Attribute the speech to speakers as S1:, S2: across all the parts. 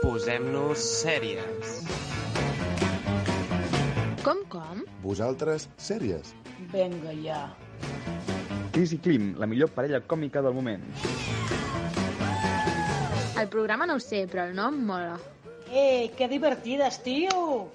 S1: Posem-nos sèries.
S2: Com, com?
S3: Vosaltres, sèries.
S4: Venga ja.
S5: Chris i Klim, la millor parella còmica del moment.
S2: El programa no ho sé, però el nom mola.
S4: Ei, Eh, que divertides, tio!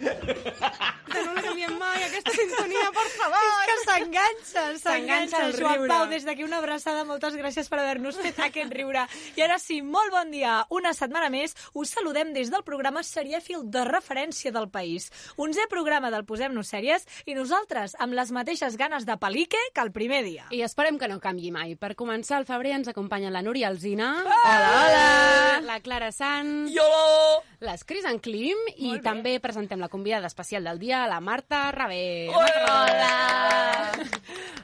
S6: Que no la canviem mai, aquesta sintonia, per favor.
S7: És que s'enganxa,
S6: S'enganxa
S7: s'enganxa
S6: el
S7: el Joan
S6: riure.
S7: Pau. Des d'aquí una abraçada, moltes gràcies per haver-nos fet aquest riure. I ara sí, molt bon dia. Una setmana més us saludem des del programa Serièfil de referència del país. Onzè programa del Posem-nos Sèries i nosaltres amb les mateixes ganes de pelique que el primer dia.
S6: I esperem que no canvi mai. Per començar el febrer ens acompanyen la Núria Alzina.
S7: Ah! Hola, hola!
S6: La Clara Sant.
S7: Iolo!
S6: Les Cris en Clim. I també presentem la convidada especial del dia, la Marta Rabé.
S7: Hola!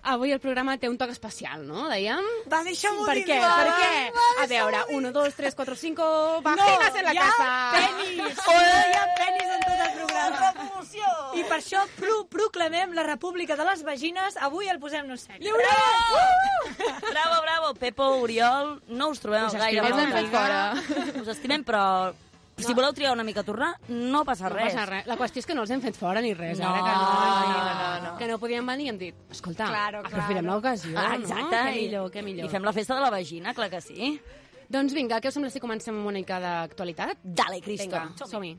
S6: Avui el programa té un toc especial, no? Dèiem?
S7: Va, deixa-m'ho
S6: Per
S7: dir,
S6: què?
S7: va.
S6: Per què?
S7: Va,
S6: A veure, 1, 2, 3, 4, 5... Vaginas en la
S7: hi ha
S6: casa!
S7: Penis! Hi ha penis en tot el programa.
S4: Revolució!
S7: I per això pro proclamem la república de les vagines. Avui el posem-nos sèries. Lliure!
S8: Bravo, bravo, Pepo, Oriol, no us trobem
S6: Us
S8: gaire.
S6: estimem
S8: no?
S6: una mica.
S8: Us estimem, però si voleu triar una mica a tornar, no passa
S6: No
S8: res.
S6: passa res. La qüestió és que no els hem fet fora ni res.
S8: No,
S6: ara que
S8: no, no, no.
S6: Que no podíem venir i hem dit, escolta,
S7: Claro, claro.
S6: aprofitem l'ocasió,
S8: Ah, exacte.
S6: no? Que
S8: i-
S6: millor, que millor.
S8: I fem la festa de la vagina, clar que sí.
S6: Doncs vinga, què us sembla si comencem amb una mica d'actualitat?
S8: Dale, Cristo.
S6: Vinga, som-hi.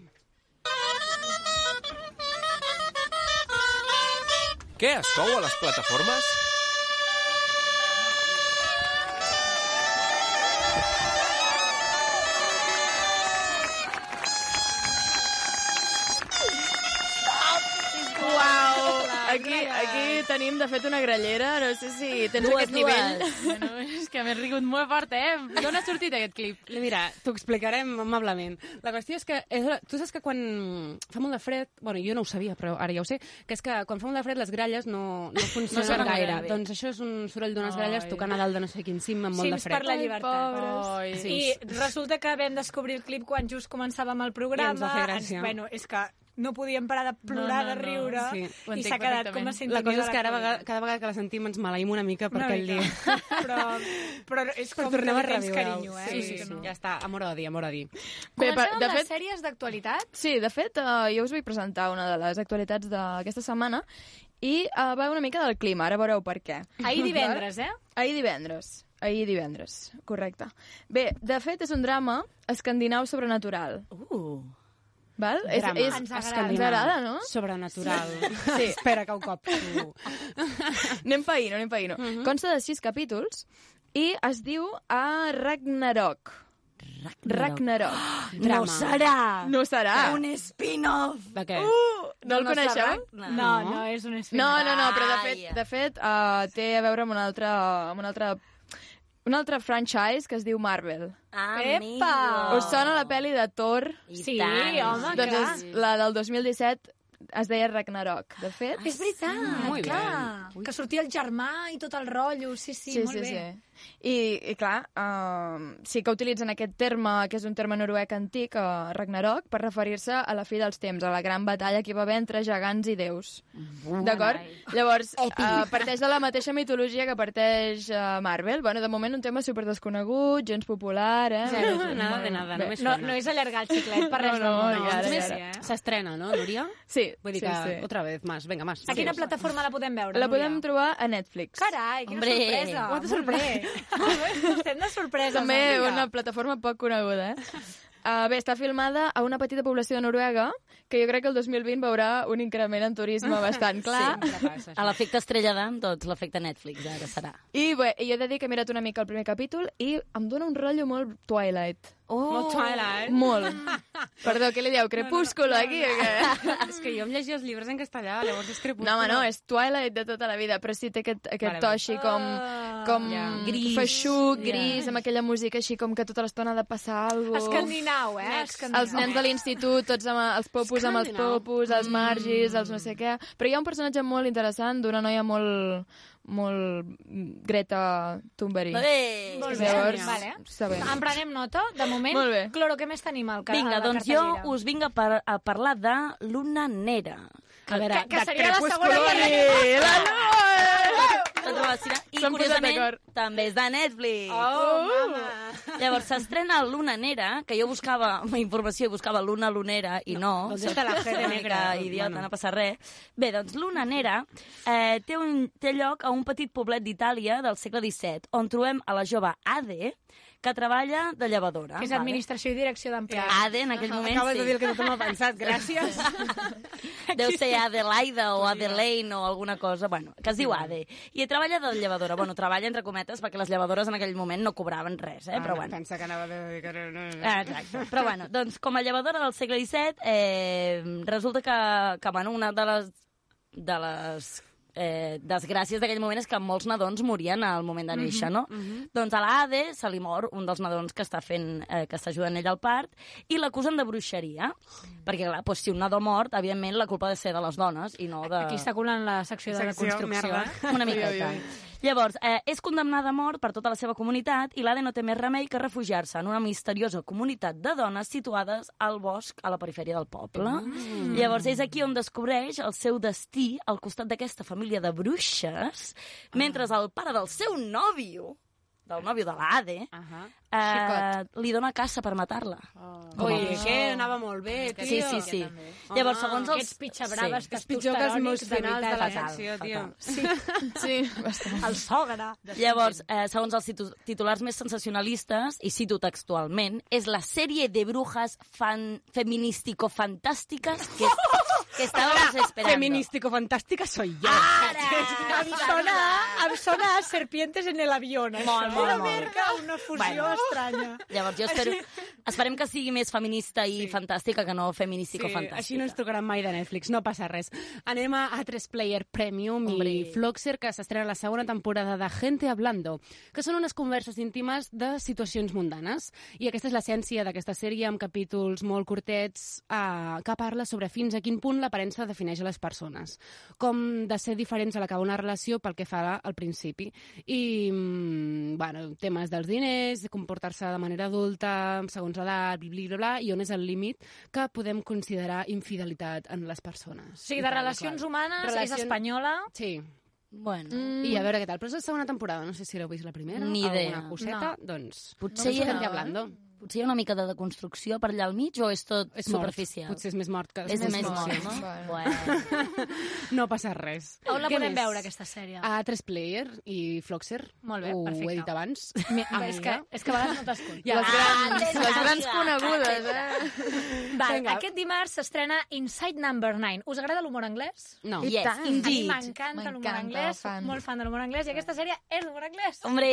S1: Què es cou a les plataformes?
S9: Uau! Aquí, aquí tenim, de fet, una grallera. No sé si tens
S8: Dues,
S9: aquest nivell. Bueno, és que m'he rigut molt fort, eh? D'on ha sortit aquest clip?
S6: Mira, t'ho explicarem amablement. La qüestió és que és, la- tu saps que quan fa molt de fred, bueno, jo no ho sabia, però ara ja ho sé, que és que quan fa molt de fred les gralles no, no funcionen
S8: sonen
S6: gaire.
S8: gaire bé.
S6: Doncs això és un soroll d'unes gralles
S9: Ai.
S6: tocant a dalt de no sé quin cim amb molt de
S7: Cims
S6: fred.
S7: per la llibertat.
S9: Ai,
S6: Sí.
S7: I resulta que vam descobrir el clip quan just començàvem el
S6: I
S7: programa.
S6: ens va fer gràcia.
S7: Ens- bueno, és que no podíem parar de plorar,
S9: No, no,
S7: de
S9: no,
S7: riure,
S6: sí,
S9: ho
S7: i
S9: entenc
S7: s'ha quedat com a
S9: perfectament.
S7: sintonia
S6: La cosa és
S7: de
S6: que ara
S7: l'actualitat.
S6: vegada, cada vegada que la sentim ens maleïm una mica per
S7: Una
S6: aquell
S7: mica.
S6: dia.
S7: Però, però és com
S6: Però tornem
S7: que
S6: a
S7: li tens
S6: reviure
S7: carinyo, eh?
S6: Sí,
S7: Vull
S6: sí,
S7: dir que
S6: sí.
S7: no.
S6: Ja està, amor-odi, amor-odi.
S9: Bé, per,
S10: Comencem
S9: de
S10: amb les
S9: fet,
S10: sèries d'actualitat.
S9: sí, de fet, eh, jo us vull presentar una de les actualitats d'aquesta setmana i eh, va una mica del clima, ara veureu per què.
S7: Ahir divendres, eh?
S9: Ahir divendres. Ahir divendres, correcte. Bé, de fet, és un drama escandinau sobrenatural.
S8: Uh.
S9: Val? És,
S6: Drama.
S9: és,
S6: Ens agrada.
S9: Ens agrada, no?
S6: Sobrenatural.
S9: Sí.
S6: Espera que un cop tu...
S9: anem païno, anem païno. Consta de sis capítols i es diu a Ragnarok. Ragnarok.
S8: No
S6: Drama. Ah.
S8: serà
S9: No serà.
S8: un spin-off.
S6: De què?
S9: Uh, no el
S8: serà
S9: coneixeu?
S8: Ragnar.
S7: No, no, és un espai.
S9: No, no, no, però de fet,
S8: Ai.
S9: de fet uh, té a veure amb una altra... Amb una altra un altre franchise que es diu Marvel.
S8: Amigo.
S7: Epa!
S9: Us sona la pel·li de Thor?
S8: I
S7: Sí,
S8: tant.
S7: home, Ah,
S9: doncs
S7: clar.
S9: és la del 2017 es deia Ragnarok, de fet.
S7: Ah, És veritat,
S6: Molt
S7: clar.
S6: bé.
S7: Que sortia el germà i tot el rotllo, sí, sí, molt bé.
S9: sí. I, i clar, uh, sí que utilitzen aquest terme, que és un terme noruec antic, uh, Ragnarok, per referir-se a la fi dels temps, a la gran batalla que hi va haver entre gegants i déus. D'acord? Llavors, uh, parteix de la mateixa mitologia que parteix uh, Marvel. Bueno, de moment un tema super desconegut, gens popular, eh?
S6: Zero, nada de nada,
S9: Bé,
S6: només
S7: No,
S6: suena.
S7: no és allargar el xiclet per res
S9: No, no,
S7: del món.
S9: ja, ara,
S7: és
S9: ja,
S7: més,
S9: ara.
S7: eh?
S6: S'estrena, no, Núria?
S9: Sí,
S6: Vull dir
S9: sí,
S6: que,
S9: sí.
S6: otra vez, más, venga, más.
S7: A quina plataforma la podem veure?
S9: La
S7: Núria?
S9: podem trobar a Netflix.
S7: Carai, quina
S8: Hombre. Quanta
S7: sorpresa. sorpresa. Estem de sorpresa.
S9: També una plataforma poc coneguda, eh? Uh, bé, està filmada a una petita població de Noruega que jo crec que el 2020 veurà un increment en turisme bastant clar.
S6: passa,
S8: A l'efecte Estrella d'Am, doncs l'efecte Netflix, ara serà.
S9: I bé, jo he de dir que he mirat una mica el primer capítol i em dóna un rotllo molt Twilight.
S6: Oh, molt Twilight.
S9: Molt. Perdó, què li dieu? Crepúsculo, aquí? o què?
S6: és que jo em llegia els llibres en castellà, llavors és crepúsculo.
S9: No, home, no, és Twilight de tota la vida, però sí té aquest, aquest
S6: Vale,
S9: to
S6: vale. Ah,
S9: així com, com
S8: Ja.
S9: gris. feixuc, gris, amb aquella música així com que tota l'estona ha de passar alguna cosa.
S7: Escandinau, eh? Escandinau.
S9: Els nens de l'institut, tots amb els popus amb els
S6: Escàndinau.
S9: popus, els margis, els no sé què. Però hi ha un personatge molt interessant d'una noia molt... molt... Greta Thunberg.
S8: Bé.
S7: Molt bé.
S9: Llavors,
S7: Vale.
S9: està bé.
S7: En prenem nota, de moment.
S9: Molt bé.
S7: Cloro, què més tenim al ca- a
S8: Vinga,
S7: la
S8: doncs jo
S7: cartellera?
S8: us vinc a, par a parlar de Luna Nera,
S6: A veure,
S9: que
S6: de
S9: seria la
S6: Crepúsculo
S9: segona
S6: i-
S9: pel·lícula.
S8: Tot relacionat. I,
S9: S'han posat
S8: curiosament,
S9: d'acord.
S8: també és de Netflix.
S9: Oh, mama.
S8: Llavors, s'estrena Luna Nera, que jo buscava informació i buscava Luna Lunera, i no.
S6: doncs és de la
S8: Soc
S6: Jede
S8: una
S6: Negra.
S8: mica Idiota,
S6: Bueno.
S8: no passa res. Bé, doncs Luna Nera eh, té, un, té lloc a un petit poblet d'Itàlia del segle XVII, on trobem a la jove Ade, que treballa de llevadora.
S7: Que és
S8: vale?
S7: administració i direcció d'empresa.
S8: Ade, en aquell moment,
S6: Acabes
S8: sí.
S6: de dir el que tothom ha pensat, gràcies.
S8: Deu ser Adelaida o Adelaine o alguna cosa, bueno, que es diu Ade. I treballa de llevadora. Bueno, treballa entre cometes perquè les llevadores en aquell moment no cobraven res, eh? Però bueno.
S6: Pensa que anava de... que no- no- no.
S8: Ah, Exacte. Però bueno, doncs com a llevadora del segle XVII, eh, resulta que, que bueno, una de les, de les eh, desgràcies d'aquell moment és que molts nadons morien al moment de néixer, no? Doncs a l'Ade se li mor un dels nadons que està fent, eh, que està ajudant ell al part, i l'acusen de bruixeria, perquè clar, doncs, si un nadó mort, evidentment la culpa ha de ser de les dones i no de...
S7: Aquí està colant la secció de la
S6: Secció,
S7: construcció.
S6: merda.
S8: Una miqueta. Llavors, eh, és condemnada a mort per tota la seva comunitat i l'Ade no té més remei que refugiar-se en una misteriosa comunitat de dones situades al bosc a la perifèria del poble. Mm. Llavors, és aquí on descobreix el seu destí al costat d'aquesta família de bruixes, mentre el pare del seu nòvio, del nòvio de l'Ade,
S6: Ahà.
S8: eh, li dona caça per matar-la.
S6: Ui, que anava molt bé, tio.
S8: Oh. Sí, oh. sí, sí. Llavors, segons els...
S7: Aquests pitxabraves
S8: Sí.
S7: sí.
S6: És pitjor que els meus
S7: testosterònics de
S6: finals de
S7: veritat,
S6: la
S7: eh?
S6: secció, tio.
S7: Sí,
S9: Sí, bastant.
S7: el sogre.
S8: Llavors, eh, segons els titu- titulars més sensacionalistes, i cito textualment, és la sèrie de brujas fan feminístico-fantàstiques que, que estàvem esperant.
S6: Feministico fantàstica soy yo.
S7: Em sona, em sona a serpientes en el
S11: eh?
S7: avión, això.
S8: Molt, molt,
S7: Una
S8: molt.
S7: merca, una fusió
S8: Bueno.
S7: estranya.
S8: Llavors, jo espero, esperem que sigui més feminista i sí. fantàstica que no
S6: Sí,
S8: feminístico-fantàstica.
S6: així no ens trucaran mai de Netflix, no passa res. Anem a A3 Player Premium Hombre. i
S8: Hombre.
S6: Floxer, que s'estrena la segona temporada de Gente Hablando, que són unes converses íntimes de situacions mundanes. I aquesta és l'essència d'aquesta sèrie, amb capítols molt curtets, eh, que parla sobre fins a quin punt l'aparença defineix a les persones. Com de ser diferents a l'acabar una relació pel que fa al principi. I, mm, bueno, temes dels diners, comportar-se de manera adulta, segons l'edat, bla, bla, bla, i on és el límit que podem considerar infidelitat en les persones.
S7: O sigui, de relacions humanes,
S6: Relacions-
S7: és espanyola...
S6: Sí,
S8: Bueno,
S6: mm. i a veure què tal. Però és la segona temporada, no sé si l'heu vist la primera.
S8: Ni idea.
S6: Alguna coseta, no. doncs...
S8: potser,
S6: Estem
S8: hi ha,
S6: hablando.
S8: potser hi ha una mica de deconstrucció per allà al mig o és tot
S6: És
S8: superficial?
S6: Mort. Potser és més mort que...
S8: és, més mort,
S9: mort,
S8: no?
S9: bueno.
S8: Bueno.
S6: No passa res.
S7: On la
S6: Què
S7: podem
S6: més? Ah,
S7: veure, aquesta sèrie?
S6: A 3Player i Floxer.
S7: Molt bé,
S6: Ho
S7: perfecte.
S6: he dit abans.
S7: Ah, és, que, és que a vegades no t'escolto.
S6: Ja.
S9: Les grans, les grans conegudes, eh?
S7: Val,
S6: Vinga.
S7: aquest dimarts s'estrena Inside Number 9. Us agrada l'humor anglès?
S6: No.
S8: Yes,
S9: tant.
S7: A mi
S8: indeed.
S7: m'encanta l'humor
S9: M'encanta,
S7: anglès,
S9: fan.
S7: molt fan de l'humor anglès, i aquesta sèrie és d'humor anglès.
S8: Hombre!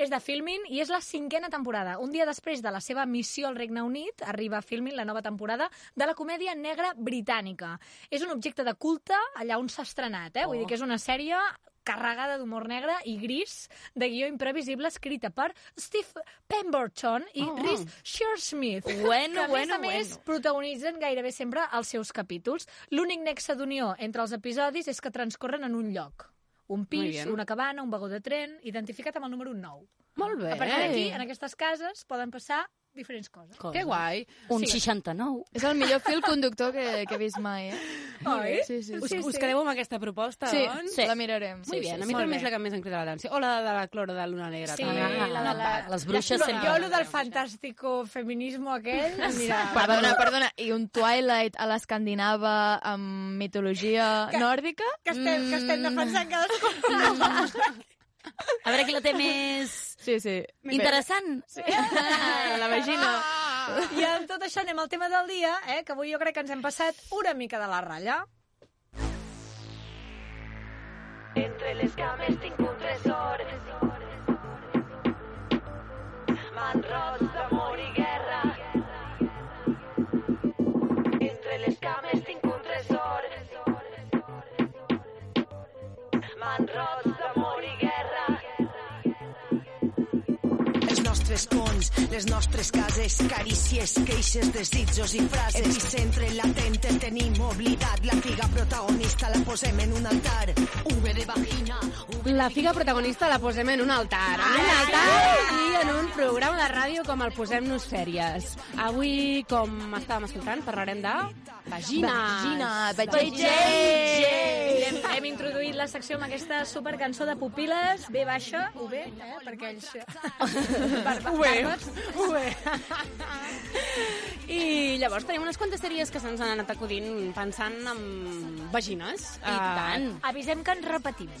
S7: És de Filmin i és la cinquena temporada. Un dia després de la seva missió al Regne Unit, arriba a Filmin la nova temporada de la comèdia negra britànica. És un objecte de culte allà on s'ha estrenat, eh?
S8: Oh.
S7: Vull dir que és una sèrie carregada d'humor negre i gris, de guió imprevisible, escrita per Steve Pemberton i
S6: Oh, wow.
S7: Rhys Shearsmith,
S8: Bueno,
S7: que a
S8: bueno,
S7: més a més
S8: bueno.
S7: protagonitzen gairebé sempre els seus capítols. L'únic nexe d'unió entre els episodis és que transcorren en un lloc. Un
S6: Muy
S7: pis,
S6: bien.
S7: una cabana, un vagó de tren, identificat amb el número 9.
S6: Molt bé.
S7: A partir d'aquí, en aquestes cases, poden passar diferents coses.
S6: Que guai.
S8: Un
S7: Sí.
S8: 69.
S9: És el millor fil conductor que, que he vist mai, eh?
S7: Oi?
S9: Sí, sí,
S6: Us,
S9: sí.
S6: us quedeu amb aquesta proposta,
S9: Sí,
S6: doncs?
S9: la mirarem.
S6: Molt bé, a mi
S9: Molt
S6: també
S9: bé.
S6: és la que més em crida l'atenció. O la de la clora de Luna Negra,
S7: Sí, Ah,
S6: també.
S7: la de la-
S8: Ah, pa, les bruixes
S7: No,
S8: sempre...
S7: jo, lo del fantàstico feminismo aquell,
S9: Ah,
S7: mira...
S9: Perdona, perdona. I un Twilight a l'escandinava amb mitologia nòrdica? Mm,
S7: Que estem, que estem
S6: Mm.
S7: defensant cadascú.
S8: A veure qui la té més...
S9: Sí, sí.
S8: Interessant. Sí.
S9: Ah, La vagina.
S7: I amb tot això anem al tema del dia, eh, que avui jo crec que ens hem passat una mica de la ratlla.
S10: Entre les cames tinc un tresor. Manrots d'amor i guerra. Entre les cames tinc un tresor. Manrots d'amor i guerra.
S11: Els nostres nostres ponts, les nostres cases, carícies, queixes, desitjos i frases. Epicentre latent el tenim oblidat, la figa protagonista la posem en un altar. V de vagina,
S6: La figa protagonista la posem en un altar. En un altar i en un programa de ràdio com el Posem-nos Fèries. Avui, com estàvem escoltant, parlarem de... Vagines.
S7: Ah,
S9: Vagines,
S6: Vagines.
S7: Hem, hem introduït la secció amb aquesta supercançó de pupil·les, B baixa, UB, eh? perquè ells... UB. UB.
S6: I llavors tenim unes quantes sèries que se'ns han anat acudint pensant en vagines. I
S7: tant. Avisem que ens repetim.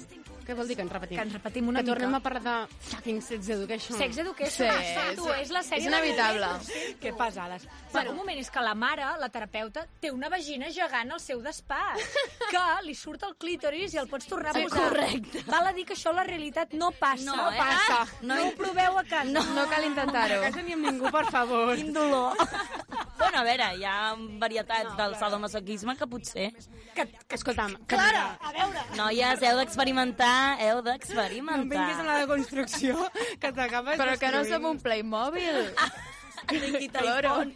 S6: Què vol dir que ens repetim?
S7: Que ens repetim una
S6: que tornem Mm.
S7: mica.
S6: a parlar de fucking Sex Education. Ah,
S7: Sex Education,
S9: Sí,
S7: sí, tu,
S9: sí.
S7: és la sèrie...
S9: És inevitable.
S7: de- Que pesades. Però un moment, és que la mare, la terapeuta, té una vagina gegant al seu despatx, que li surt el clítoris i el pots tornar a
S8: Sí,
S7: posar.
S8: correcte.
S7: Val a dir que això a la realitat no passa.
S8: No, eh?
S7: passa.
S8: No.
S7: No ho proveu a casa. No.
S9: No cal intentar-ho.
S6: No ni amb ningú, per favor.
S8: Quin dolor. bueno, a veure, hi ha varietats del sadomasoquisme que potser...
S6: Que, que escolta'm... Que
S7: Clara, a veure.
S8: Noies, heu d'experimentar, heu
S6: Ah, No em vinguis amb la
S8: d'experimentar.
S6: deconstrucció, que t'acabes
S9: Però que no
S6: destruint.
S9: som un Playmobil.
S12: Ah,
S8: Nikita
S9: Claro.
S8: Icon.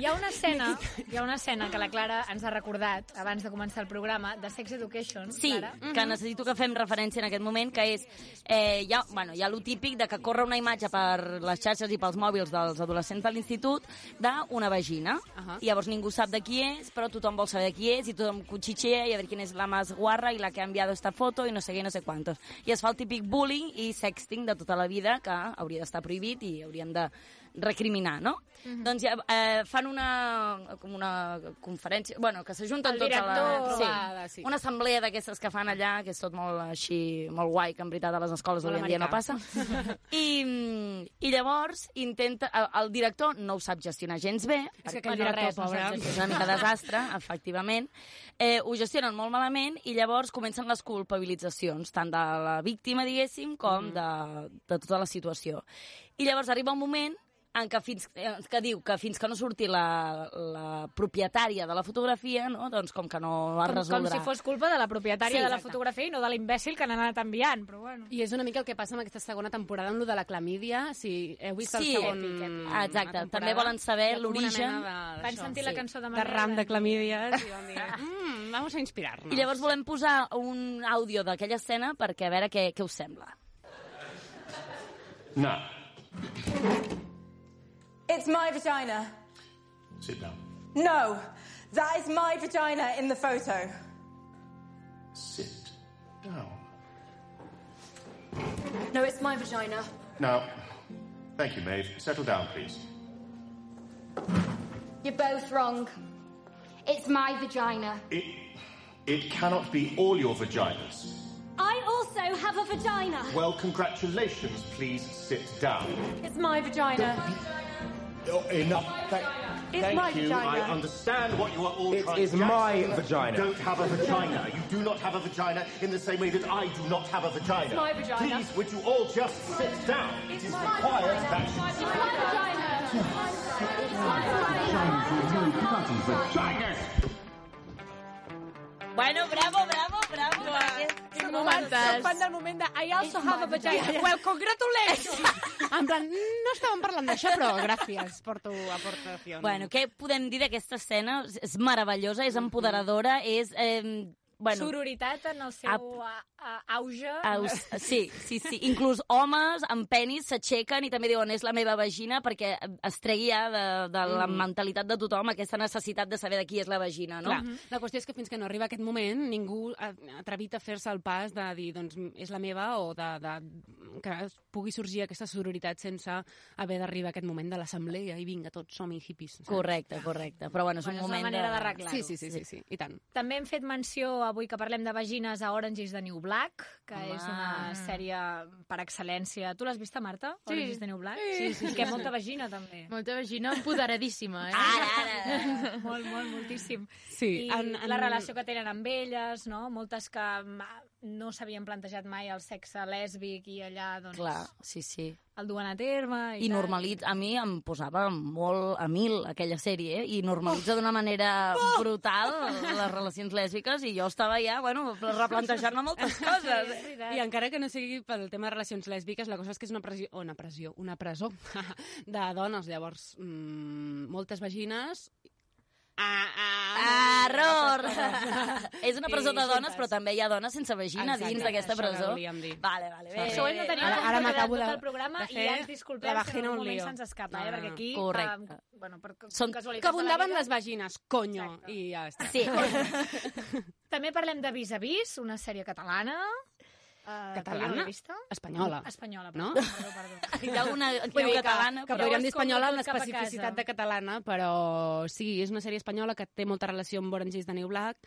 S7: Hi ha una escena, hi ha una escena que la Clara ens ha recordat abans de començar el programa de Sex Education.
S8: Sí, Mm.
S7: Clara.
S8: que necessito que fem referència en aquest moment, que és... Eh, hi, ha, bueno, hi ha lo típic de que corre una imatge per les xarxes i pels mòbils dels adolescents de l'institut d'una vagina. Uh
S6: Ahà.
S8: -huh. I llavors ningú sap de qui és, però tothom vol saber de qui és, i tothom cuchichea i a veure quina és la més guarra i la que ha enviat esta foto i no sé què, i no sé quantos. I es fa el típic bullying i sexting de tota la vida, que hauria d'estar prohibit i hauríem de recriminar, no? Uh
S6: Mhm.
S8: -huh. Doncs ja, eh, fan una, com una conferència... Bueno, que s'ajunten
S7: El
S8: tots a la...
S7: director,
S6: trobada, sí.
S8: Una assemblea d'aquestes que fan allà, que és tot molt així, molt guai, que en veritat a les escoles
S6: Molt
S8: avui en dia no
S6: americà.
S8: passa. I, mm, I llavors intenta... El, el director no ho sap gestionar gens bé.
S6: que
S8: perquè,
S6: aquell director,
S8: no sap
S6: pobre.
S8: gestionar, És una mica desastre, efectivament. Eh, ho gestionen molt malament i llavors comencen les culpabilitzacions, tant de la víctima, diguéssim, com de, de tota la situació. I llavors arriba un moment en què, fins, eh, que diu que fins que no surti la, la propietària de la fotografia, no? doncs com que no es
S7: Com, com
S8: resoldrà.
S7: si fos culpa de la propietària
S8: Sí,
S7: de la
S8: exacte.
S7: fotografia i no de l'imbècil que n'ha anat enviant, però bueno.
S6: I és una mica el que passa amb aquesta segona temporada amb lo de la clamídia, si heu vist
S8: Sí,
S6: el segon...
S8: èpic, èpic.
S6: la
S8: Exacte,
S6: temporada,
S8: també volen saber
S6: hi ha com una
S8: l'origen.
S6: mena de-
S7: Van
S6: d'això,
S7: sentir la cançó de
S6: de
S7: Manuel
S6: ram de
S7: Blanc.
S6: clamídies i van dir, mm, vamos a inspirar-nos.
S8: I llavors volem posar un àudio d'aquella escena perquè a veure què, què us sembla.
S1: No.
S13: It's my vagina.
S3: Sit down.
S13: No, that is my vagina in the photo.
S3: Sit down.
S13: No, it's my vagina.
S3: Now, thank you, Maeve. Settle down, please.
S12: You're both wrong. It's my vagina.
S3: It, it cannot be all your vaginas.
S12: I also have a vagina.
S3: Well, congratulations. Please sit down.
S13: It's my vagina.
S3: Oh, enough. Thank,
S13: It's
S3: thank
S13: my
S3: you.
S13: vagina.
S3: I understand what you are all
S1: It
S3: trying
S1: is
S3: to get.
S1: my
S3: You
S1: vagina.
S3: don't have a vagina. You do not have a vagina in the same way that I do not have a vagina.
S13: my vagina.
S3: Please, would you all just sit down? It is required that you
S8: Bueno, bravo, bravo, bravo.
S9: Tinc
S7: Som
S9: momentes.
S7: fan del moment de I also have a vagina. Well, congratulations!
S6: En plan, "Mm, no estàvem parlant d'això, però gràcies per tu aportació.
S8: Bueno, què podem dir d'aquesta escena? És- És meravellosa, és empoderadora, és... Eh, bueno,
S7: Sororitat en el seu a, a, auge.
S8: aus, sí, sí, sí. Inclús homes amb penis s'aixequen i també diuen és la meva vagina perquè es tregui ja de, de la
S7: Mm.
S8: mentalitat de tothom aquesta necessitat de saber de qui és la vagina, no?
S6: Clar, la qüestió és que fins que no arriba aquest moment ningú ha atrevit a fer-se el pas de dir doncs és la meva o de, de, que es pugui sorgir aquesta sororitat sense haver d'arribar a aquest moment de l'assemblea i vinga, tots som-hi hippies. saps?
S8: Correcte, correcte. Però bueno, és
S7: Bueno,
S8: un
S7: és una
S8: moment
S7: manera
S8: de...
S7: d'arreglar-ho.
S6: Sí, sí, sí, sí, sí, i tant.
S7: També hem fet menció, avui que parlem de vagines, a Orange is the New Black, que Home. és una sèrie per excel·lència. Tu l'has vista, Marta? Sí. Orange is the New Black? Sí, sí, sí. Que molta vagina, també.
S14: Molta vagina empoderadíssima,
S9: Ah.
S14: eh?
S8: Ara, ara.
S7: molt, molt, moltíssim.
S6: Sí,
S7: I
S6: en- en-
S7: la relació que tenen amb elles, no? Moltes que mm, no s'havien plantejat mai el sexe lèsbic i allà, doncs,
S8: Clar, sí, sí.
S7: el duen a terme i,
S8: I normalitz... A mi em posava molt a mil aquella sèrie, eh? I normalitza
S6: Oh!
S8: d'una manera brutal les relacions lèsbiques i jo estava ja, bueno, replantejant-me moltes coses.
S6: I encara que no sigui pel tema de relacions lèsbiques, la cosa és que és una pressió, oh, una pressió, una presó de dones. Llavors, mm, moltes vagines... Ah, ah,
S8: Error! és una
S6: I
S8: presó de dones,
S6: juntes.
S8: però també hi ha dones sense vagina
S6: Exacte,
S8: dins d'aquesta
S6: això
S8: presó.
S6: que volíem dir.
S8: Vale, vale, bé.
S7: Això ho hem de tenir
S6: Ara- ara
S7: ara, ara
S6: m'acabo
S7: m'acabo tot
S6: de-
S7: el programa
S6: de
S7: i
S6: fer
S7: ja ens disculpem
S6: la
S7: si en
S6: vagina
S7: algun
S6: un
S7: moment
S6: lío.
S7: se'ns escapa, eh?
S6: Ah,
S7: Perquè aquí...
S8: correcte.
S7: eh, bueno, per
S8: Són-
S7: casualitats
S6: Que
S7: de la
S6: abundaven
S7: vida.
S6: les vagines, conyo. I ja està.
S8: Sí.
S7: També parlem de Vis a Vis, una sèrie catalana. eh, que jo no
S6: Catalana?
S7: he vist.
S6: Espanyola.
S7: Espanyola,
S6: No?
S7: perdó, perdó, perdó.
S8: Hi ha alguna
S6: Vull
S8: creu
S6: dir que-
S8: catalana,
S6: que
S8: però
S6: podríem dir
S7: es compra
S6: espanyola
S7: tot
S6: amb
S7: cap a
S6: l'especificitat
S7: casa.
S6: de catalana, però sí, és una sèrie espanyola que té molta relació amb Orange is the New Black,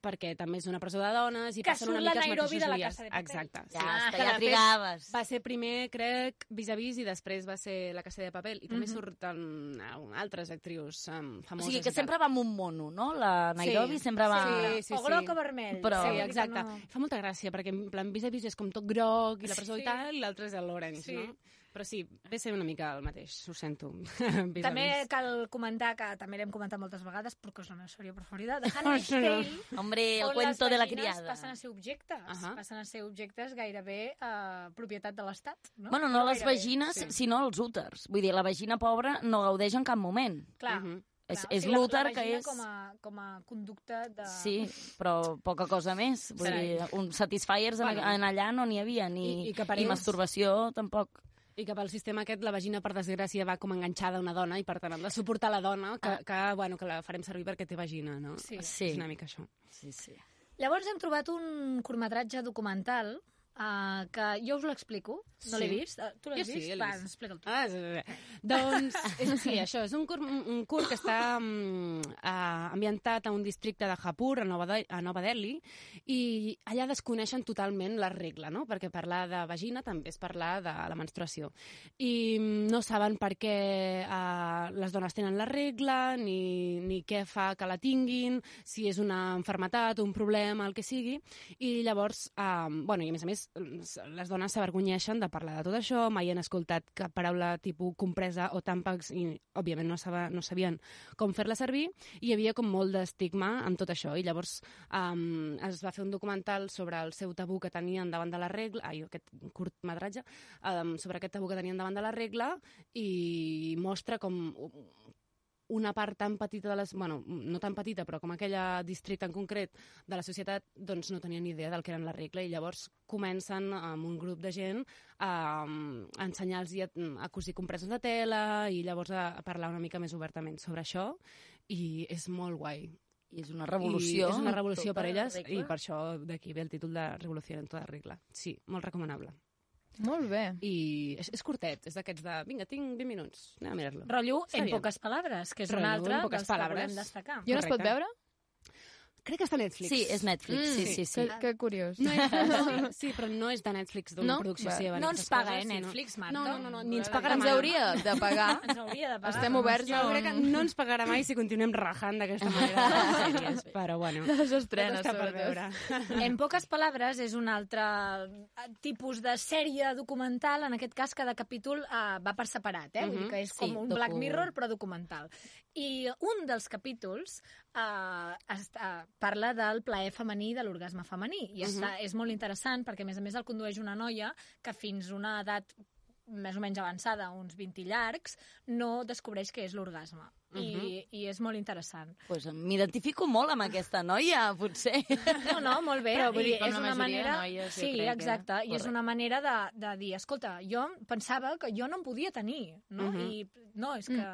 S6: perquè també és una presó de dones i
S7: Que
S6: passen una
S7: surt la
S6: mica els
S7: Nairobi
S6: mateixos
S7: de la
S6: dies.
S7: Casa de Papel.
S6: Exacte.
S8: Ja està,
S6: Ah, Que
S8: ja
S6: de fet
S8: trigaves.
S6: Va ser primer, crec, vis-a-vis i després va ser la Casa de Papel. I també
S8: Mhm.
S6: surten al- altres actrius um,
S8: O
S6: famoses.
S8: sigui, que
S6: i tal.
S8: sempre va amb un mono, no? La Nairobi sempre va...
S6: Sí, sí, sí.
S7: O groc o vermell.
S6: Però,
S7: Sí,
S6: sí,
S7: vull dir que
S6: exacte.
S7: no.
S6: No... Fa molta gràcia, perquè en plan vis-a-vis és com tot groc i la presó
S7: Sí.
S6: i tal, i l'altre és el l'orange,
S7: Sí.
S6: no? Però sí, ve a ser una mica el mateix, ho sento. Vis-a-vis.
S7: També cal comentar, que també l'hem comentat moltes vegades, perquè és la meva sèrie preferida, de Handmaid's
S6: Això no.
S7: Tale,
S8: Hombre, el
S7: on
S8: cuento
S7: les
S8: de la
S7: vagines
S8: criada.
S7: passen a ser objectes,
S8: Ahà.
S7: passen a ser objectes gairebé eh, propietat de l'Estat. No?
S8: Bueno, no les
S7: gairebé,
S8: vagines, sinó els úters. Vull dir, la vagina pobra no gaudeix en cap moment.
S7: Clar.
S8: És,
S7: Clar, o
S8: és
S7: sigui, la- la
S8: l'úter que
S7: vagina
S8: és...
S7: Com a, com a conducta
S6: Ah.
S7: de...
S8: Sí, però poca cosa més. Vull
S6: Carai.
S8: dir, un satisfiers en,
S6: Bueno.
S8: en allà no n'hi havia, ni,
S6: I- i que per
S8: ni
S6: ells-
S8: masturbació tampoc.
S6: I que pel sistema aquest la vagina, per desgràcia, va com enganxada a una dona i, per tant, hem de suportar la dona, que, que, bueno, que la farem servir perquè té vagina, no?
S7: Ah. Sí.
S8: Sí.
S6: És una mica això.
S8: Sí, sí.
S7: Llavors hem trobat un curtmetratge documental uh, que jo us l'explico, no l'he
S6: Sí.
S7: vist. Eh, tu l'has
S6: Jo sí,
S7: vist?
S6: l'he
S7: Va,
S6: vist.
S7: explica'l tu.
S6: Ah, sí, sí, sí. Doncs, és, sí, això, és un curt, un un curt que està mm, ah, ambientat a un districte de Japur, a Nova, de a Nova Delhi, i allà desconeixen totalment la regla, no? Perquè parlar de vagina també és parlar de la menstruació. I mm, no saben per què eh, les dones tenen la regla, ni, ni què fa que la tinguin, si és una enfermetat, un problema, el que sigui. I llavors, eh, bueno, i a més a més, les dones s'avergonyeixen de parlar de tot això, mai han escoltat cap paraula tipus compresa o tàmpax i, òbviament, no, saba, no sabien com fer-la servir i hi havia com molt d'estigma amb tot això. I llavors um, es va fer un documental sobre el seu tabú que tenien davant de la regla, ai, aquest curtmetratge, um, sobre aquest tabú que tenien davant de la regla i mostra com una part tan petita de les... Bueno, no tan petita, però com aquella districte en concret de la societat, doncs no tenien ni idea del que eren la regla i llavors comencen amb un grup de gent a, a ensenyar-los a, a cosir compreses de tela i llavors a, a parlar una mica més obertament sobre això i és molt guai.
S8: I és una revolució
S6: I és una
S8: en
S6: revolució
S8: tota
S6: per elles
S8: regla.
S6: i per això d'aquí ve el títol de Revolució en tota regla. Sí, molt recomanable.
S9: Molt bé.
S6: I és, és curtet, és d'aquests de... Vinga, tinc 20 minuts, anem a mirar-lo.
S7: Rotllo
S6: Està
S7: en
S6: bien.
S7: poques palabres, que és un
S6: Rotllo en
S7: altre
S6: poques
S7: dels que
S6: palabres.
S7: volem destacar.
S9: I on es pot veure?
S6: Crec que està a Netflix. Mm.
S8: Sí, és Netflix, sí, sí, sí.
S9: Que, que curiós.
S6: No és, no, sí, però no és de Netflix, d'una
S9: No?
S6: producció
S9: Va.
S6: seva.
S7: No
S6: ni
S7: ens
S6: aquestes
S7: paga,
S6: coses,
S7: eh,
S6: sinó-
S7: Netflix, Marta.
S6: No, no, no, no, ni ens pagarà
S9: Ens
S6: mai.
S9: hauria de pagar.
S7: Ens hauria de pagar.
S9: Estem oberts
S6: Jo
S9: a
S6: crec que
S9: un...
S6: no ens pagarà mai si continuem rajant d'aquesta manera de les sèries, però bueno.
S9: De les
S6: tot
S9: estrenes,
S6: està per veure.
S9: sobretot.
S7: En poques paraules és un altre eh, tipus de sèrie documental, en aquest cas cada capítol eh, va per separat, eh? Vull dir
S8: Mhm,
S7: que és
S8: sí,
S7: com un
S8: docu-
S7: Black Mirror però documental. I un dels capítols eh, està, parla del plaer femení i de l'orgasme femení
S8: Mhm.
S7: i està, és molt interessant perquè a més a més el condueix una noia que fins a una edat més o menys avançada, uns 20 llargs, no descobreix què és l'orgasme.
S8: Mhm.
S7: I, I és molt interessant.
S8: Pues m'identifico molt amb aquesta noia, potser.
S7: No, no, molt bé.
S14: Però
S7: Però,
S14: vull dir, com
S7: és
S14: la
S7: una
S14: majoria de
S7: manera...
S14: noies, jo
S7: sí,
S14: crec, eh?
S7: exacte. I és
S8: Correcte.
S7: una manera de, de dir, escolta, jo pensava que jo no em podia tenir, no?
S6: Mhm.
S7: I no, és que,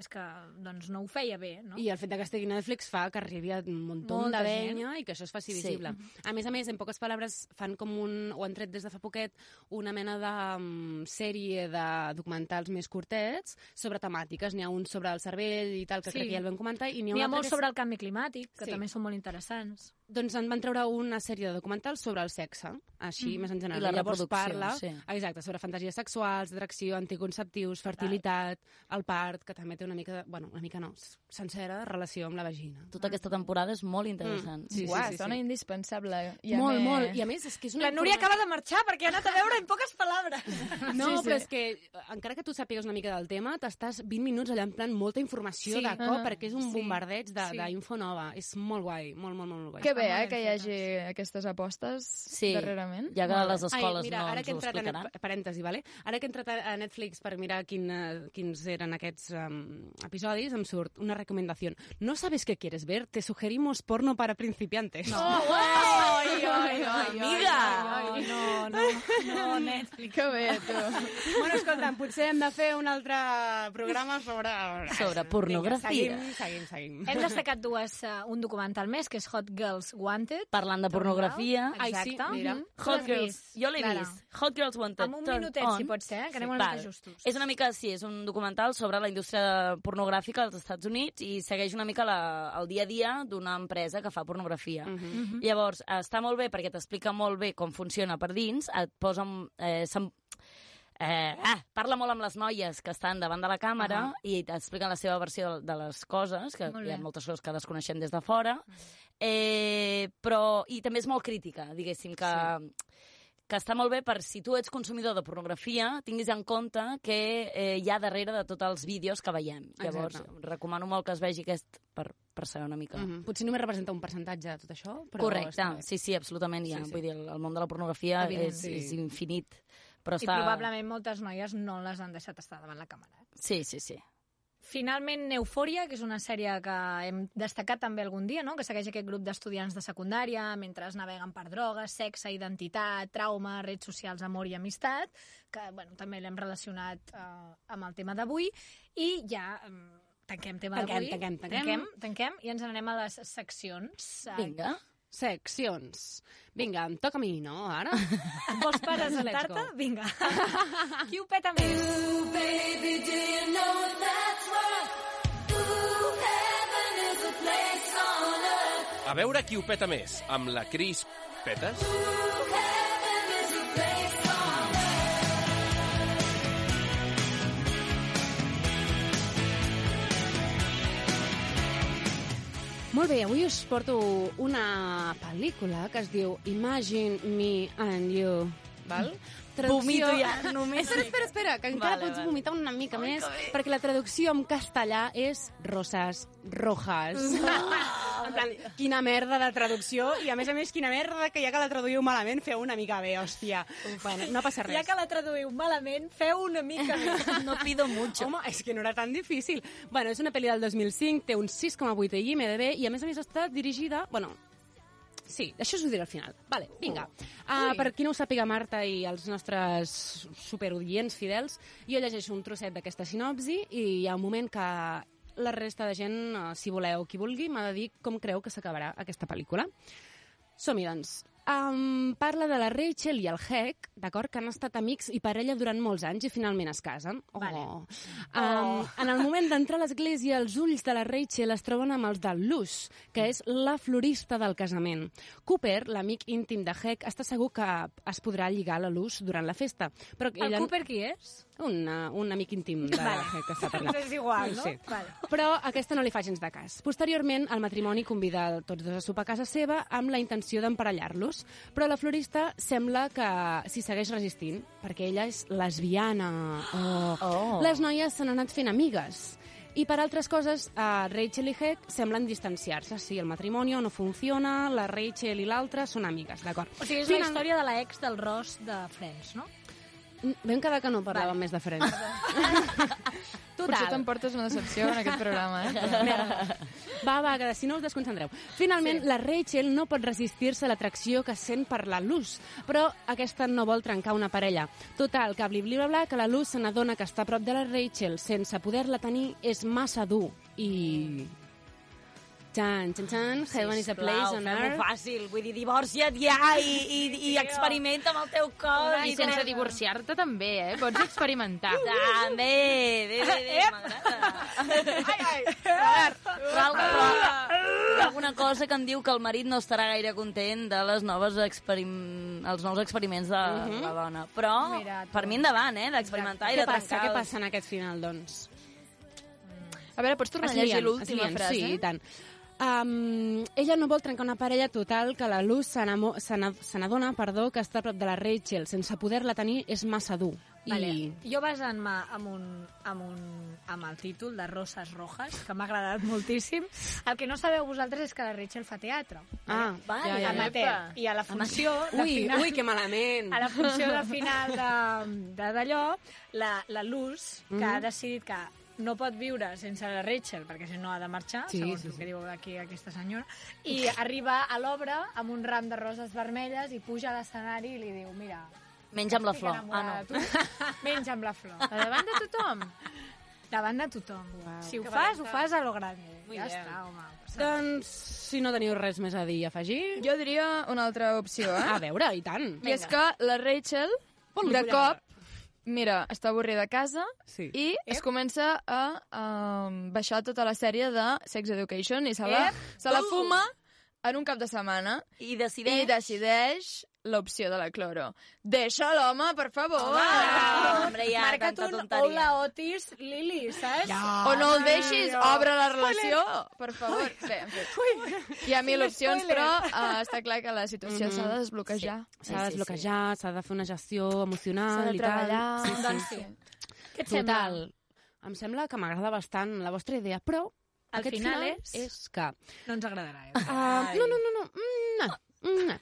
S7: és que doncs no ho feia bé, no?
S6: I el fet de que estigui a Netflix fa que arribi a un muntó
S7: Molta
S6: de
S7: gent.
S6: venya i que això es faci
S8: Sí.
S6: visible. A més a més, en poques paraules, fan com un... o han tret des de fa poquet una mena de um, sèrie de documentals més curtets sobre temàtiques. N'hi ha un sobre el cervell i tal, que
S7: Sí.
S6: crec que ja el vam comentar, i n'hi ha, un
S7: N'hi ha
S6: altre
S7: molt
S6: que és-
S7: sobre el canvi climàtic, que
S6: Sí.
S7: també són molt interessants.
S6: doncs en van treure una sèrie de documentals sobre el sexe, així
S8: Mhm.
S6: més en general.
S8: I la
S6: Llavors
S8: reproducció,
S6: parla,
S8: sí.
S6: Exacte, sobre fantasies sexuals, atracció, anticonceptius, fertilitat, el part, que també té una mica, de, bueno, una mica no, s- sencera relació amb la vagina.
S8: Tota aquesta temporada és molt interessant.
S6: Mm. Sí, sí,
S9: Uah,
S6: sí,
S9: sona
S6: sí.
S9: indispensable. I a
S6: Molt,
S9: més-
S6: molt. I a més, és que és una
S7: La Núria
S6: informació-
S7: acaba de marxar perquè ha anat a veure en poques paraules.
S6: No, sí, sí. però és que eh, encara que tu sàpigues una mica del tema, t'estàs 20 minuts allà en plan molta informació
S9: Sí.
S6: sí. de cop,
S9: Ah.
S6: perquè és un
S9: Sí.
S6: sí. bombardeig
S9: Sí.
S6: d'info sí. nova. És molt guai, molt, molt, molt guai.
S9: Que bé, eh, que hi hagi aquestes apostes darrerament.
S6: Molt bé. Ai, mira, ara que he entrat a net- Parèntesi, vale? Ara que he entrat a a Netflix per mirar quin, eh, quins eren aquests um, episodis, em surt una recomendació. No sabes qué quieres ver? Te sugerimos porno para principiantes.
S7: No. Oh,
S9: uau!
S7: Ai, ai, ai,
S6: Amiga!
S7: ai, No, no, no, Netflix.
S9: Que bé, tu.
S6: bueno, escolta, potser hem de fer un altre programa sobre...
S8: Sobre pornografia.
S6: Vinga, seguim, seguim, seguim.
S7: Hem destacat dues, eh, un documental més, que és Hot Girls Wanted.
S8: Parlant de pornografia.
S7: Ai, sí,
S8: Exacte.
S7: mira.
S8: Mhm.
S7: Tu
S8: Hot
S7: l'has
S8: Girls.
S7: vist,
S8: Jo l'he
S7: Clara?
S8: vist. Hot Girls Wanted.
S7: Amb un
S8: Turn
S7: minutet,
S8: on.
S7: si pot ser, eh, que anem una mica
S8: Doncs, Val.
S7: justos.
S8: És una mica, sí, és un documental sobre la indústria pornogràfica als Estats Units i segueix una mica la, el dia a dia d'una empresa que fa pornografia.
S10: Mhm.
S8: Llavors, està molt bé perquè t'explica molt bé com funciona per dins, et posa... en- Eh, se'n- Eh, ah, parla molt amb les noies que estan davant de la càmera
S10: Ahà.
S8: i t'expliquen la seva versió de- de les coses, que
S10: Molt
S8: hi ha
S10: bé.
S8: moltes coses que desconeixem des de fora, eh, però, i també és molt crítica, diguéssim, que, que està molt bé per si tu ets consumidor de pornografia, tinguis en compte que eh, hi ha darrere de tots els vídeos que veiem. Llavors,
S6: Exacte.
S8: recomano molt que es vegi aquest per, per saber una mica.
S6: Mhm. Potser només representa un percentatge de tot això, però...
S8: Correcte,
S6: està bé.
S8: sí, sí, absolutament hi
S6: Sí,
S8: ha. Sí,
S6: sí.
S8: sí. Vull dir, el, el món de la pornografia
S6: Evident.
S8: és,
S6: Sí.
S8: és infinit. Però
S7: I
S8: està...
S7: probablement moltes noies no les han deixat estar davant la càmera. eh.
S8: Sí, sí, sí.
S7: Finalment, Eufòria, que és una sèrie que hem destacat també algun dia, no? que segueix aquest grup d'estudiants de secundària mentre es naveguen per drogues, sexe, identitat, trauma, redes socials, amor i amistat, que bueno, també l'hem relacionat eh, amb el tema d'avui. I ja eh, tanquem tema
S6: Tanquem,
S7: d'avui.
S6: tanquem, tanquem.
S7: tanquem. Tanquem i ens n'anem a les seccions. Eh,
S6: Seccions. Vinga, em toca a mi, no, ara?
S7: Vols presentar-te? Vinga. Qui ho peta més?
S10: baby, do you know what that's worth? Ooh, heaven is a place on earth.
S1: A veure qui ho peta més, amb la Cris Petes
S10: Heaven is a place on earth.
S6: Molt bé, avui us porto una pel·lícula que es diu Imagine Me and You. Val?
S8: Vomito ja, només.
S6: Espera, espera, espera, que encara
S8: Vale,
S6: vale, pots
S8: vale.
S6: vomitar una mica més, perquè la traducció en castellà és Rosas Rojas. en plan, quina merda de traducció, i a més a més, quina merda que ja que la traduïu malament, feu una mica bé, hòstia. Bueno, no passa res.
S7: Ja que la traduïu malament, feu una mica més.
S8: No pido mucho.
S6: Home, és que no era tan difícil. Bueno, és una pel·li del 2005, té un 6,8 a IMDB i a més a més està dirigida... Bueno, sí, això us ho diré al final. Vale, vinga. Uh, per qui no ho sàpiga, Marta i els nostres superaudients fidels, jo llegeixo un trosset d'aquesta sinopsi i hi ha un moment que la resta de gent, eh, si voleu, qui vulgui, m'ha de dir com creu que s'acabarà aquesta pel·lícula. Som-hi, doncs. Um, parla de la Rachel i el Heck, d'acord, que han estat amics i parella durant molts anys i finalment es casen. Oh. Vale. Um, oh. En el moment d'entrar a l'església, els ulls de la Rachel es troben amb els de Luz, que és la florista del casament. Cooper, l'amic íntim de Heck, està segur que es podrà lligar a la Luz durant la festa. Però
S7: El Cooper qui és?
S6: Un, eh, un amic íntim de
S7: Vale.
S6: Heck que està per allà.
S7: És igual, no?
S6: Sí.
S7: Vale.
S6: Però aquesta no li fa gens de cas. Posteriorment, el matrimoni convida tots dos a sopar a casa seva amb la intenció d'emparellar-los, però la florista sembla que s'hi segueix resistint, perquè ella és lesbiana. Oh.
S8: Oh.
S6: Les noies s'han anat fent amigues. I per altres coses, eh, Rachel i Heck semblen distanciar-se. Sí, el matrimoni no funciona, la Rachel i l'altra són amigues, d'acord.
S7: O sigui, és la
S6: Final-
S7: història de l'ex del Ross de Friends, no?
S6: Mm, Vam quedar que no parlàvem més de Friends. Total.
S9: Potser t'emportes una decepció en aquest programa, eh?
S6: Merda. Va, va, que si no us desconcentreu. Finalment, sí. la Rachel no pot resistir-se a l'atracció que sent per la Luz, però aquesta no vol trencar una parella. Total, que bli, bli, bla, bla, que la Luz se n'adona que està a prop de la Rachel sense poder-la tenir és massa dur i... Tan, tan, tan, Heaven is a place on
S8: fem-ho
S6: earth.
S8: fàcil. Vull dir, divorcia't ja i, i, i experimenta amb el teu cor.
S14: I sense divorciar-te també, eh? Pots experimentar.
S8: També, bé, bé, bé, m'agrada. Ai, ai, però, però, hi ha alguna cosa que em diu que el marit no estarà gaire content de les noves experim... els nous experiments de
S6: Mhm.
S8: la dona. Però,
S6: Mira, tu.
S8: per mi endavant, eh, d'experimentar i de
S6: Què passa?
S8: trencar.
S6: Què
S8: els-
S6: passa en aquest final, doncs?
S9: A veure, pots tornar a
S6: Es
S9: llegir
S6: lien,
S9: l'última
S6: es lien,
S9: frase?
S6: Sí, i tant. Um, ella no vol trencar una parella total que la Luz se n'amo- se n'a- se n'adona perdó, que està a prop de la Rachel. Sense poder-la tenir és massa dur.
S7: Vale.
S6: I...
S7: Jo basant-me amb, un, amb, un, amb el títol de Roses Rojas, que m'ha agradat moltíssim, el que no sabeu vosaltres és que la Rachel fa teatre.
S6: Ah,
S7: vale. Amateur. I a la funció... de
S6: Ui,
S7: final-
S6: ui, que malament.
S7: A la funció de final de- de- d'allò, la, la Luz, que
S6: Mhm.
S7: ha decidit que no pot viure sense la Rachel, perquè si no ha de marxar,
S6: Sí,
S7: segons
S6: sí,
S7: el
S6: sí.
S7: que diu aquí aquesta senyora, i arriba a l'obra amb un ram de roses vermelles i puja a l'escenari i li diu, mira...
S8: Menja amb la
S7: estic
S8: flor. Ah,
S7: enamorada de tu, Menja amb la flor.
S14: Davant de tothom.
S7: Davant de tothom. Si ho
S14: Que
S7: fas,
S14: valenta.
S7: ho fas a lo grande.
S14: Muy
S7: ja
S14: bien.
S7: està, home.
S6: Doncs, si no teniu res més a dir i afegir...
S9: Jo diria una altra opció, eh?
S7: Ah.
S6: A veure, i tant.
S9: I és que la Rachel, de
S6: follar.
S9: cop, mira, està avorrida a casa
S6: Sí.
S9: i es comença a um, baixar tota la sèrie de Sex Education i se la,
S8: Ep.
S9: se la
S8: Uh.
S9: fuma en un cap de setmana
S8: I decideix...
S9: i decideix l'opció de la cloro. Deixa l'home, per favor!
S8: Home, Ah, hombre, ja,
S7: Marca't
S8: tanta
S7: un
S8: tonteria.
S7: hola Otis Lili, saps?
S9: O no el deixis, obre la relació, per favor. Bé, en fi. Hi ha mil
S7: Quin
S9: opcions,
S7: spoiler.
S9: però uh, està clar que la situació
S6: Mhm.
S9: s'ha de desbloquejar.
S6: S'ha de desbloquejar, s'ha de fer una gestió emocional
S9: S'ha de
S6: i tal.
S9: treballar.
S6: Sí, sí.
S9: Doncs Ah, sí.
S7: Què et sembla?
S6: Total, em sembla que m'agrada bastant la vostra idea, però
S7: Al
S6: aquest
S7: final
S6: final,
S7: és-
S6: és que...
S7: No ens agradarà. Eh?
S6: Ah, no, no, no, no. Mm, no. Mm, no.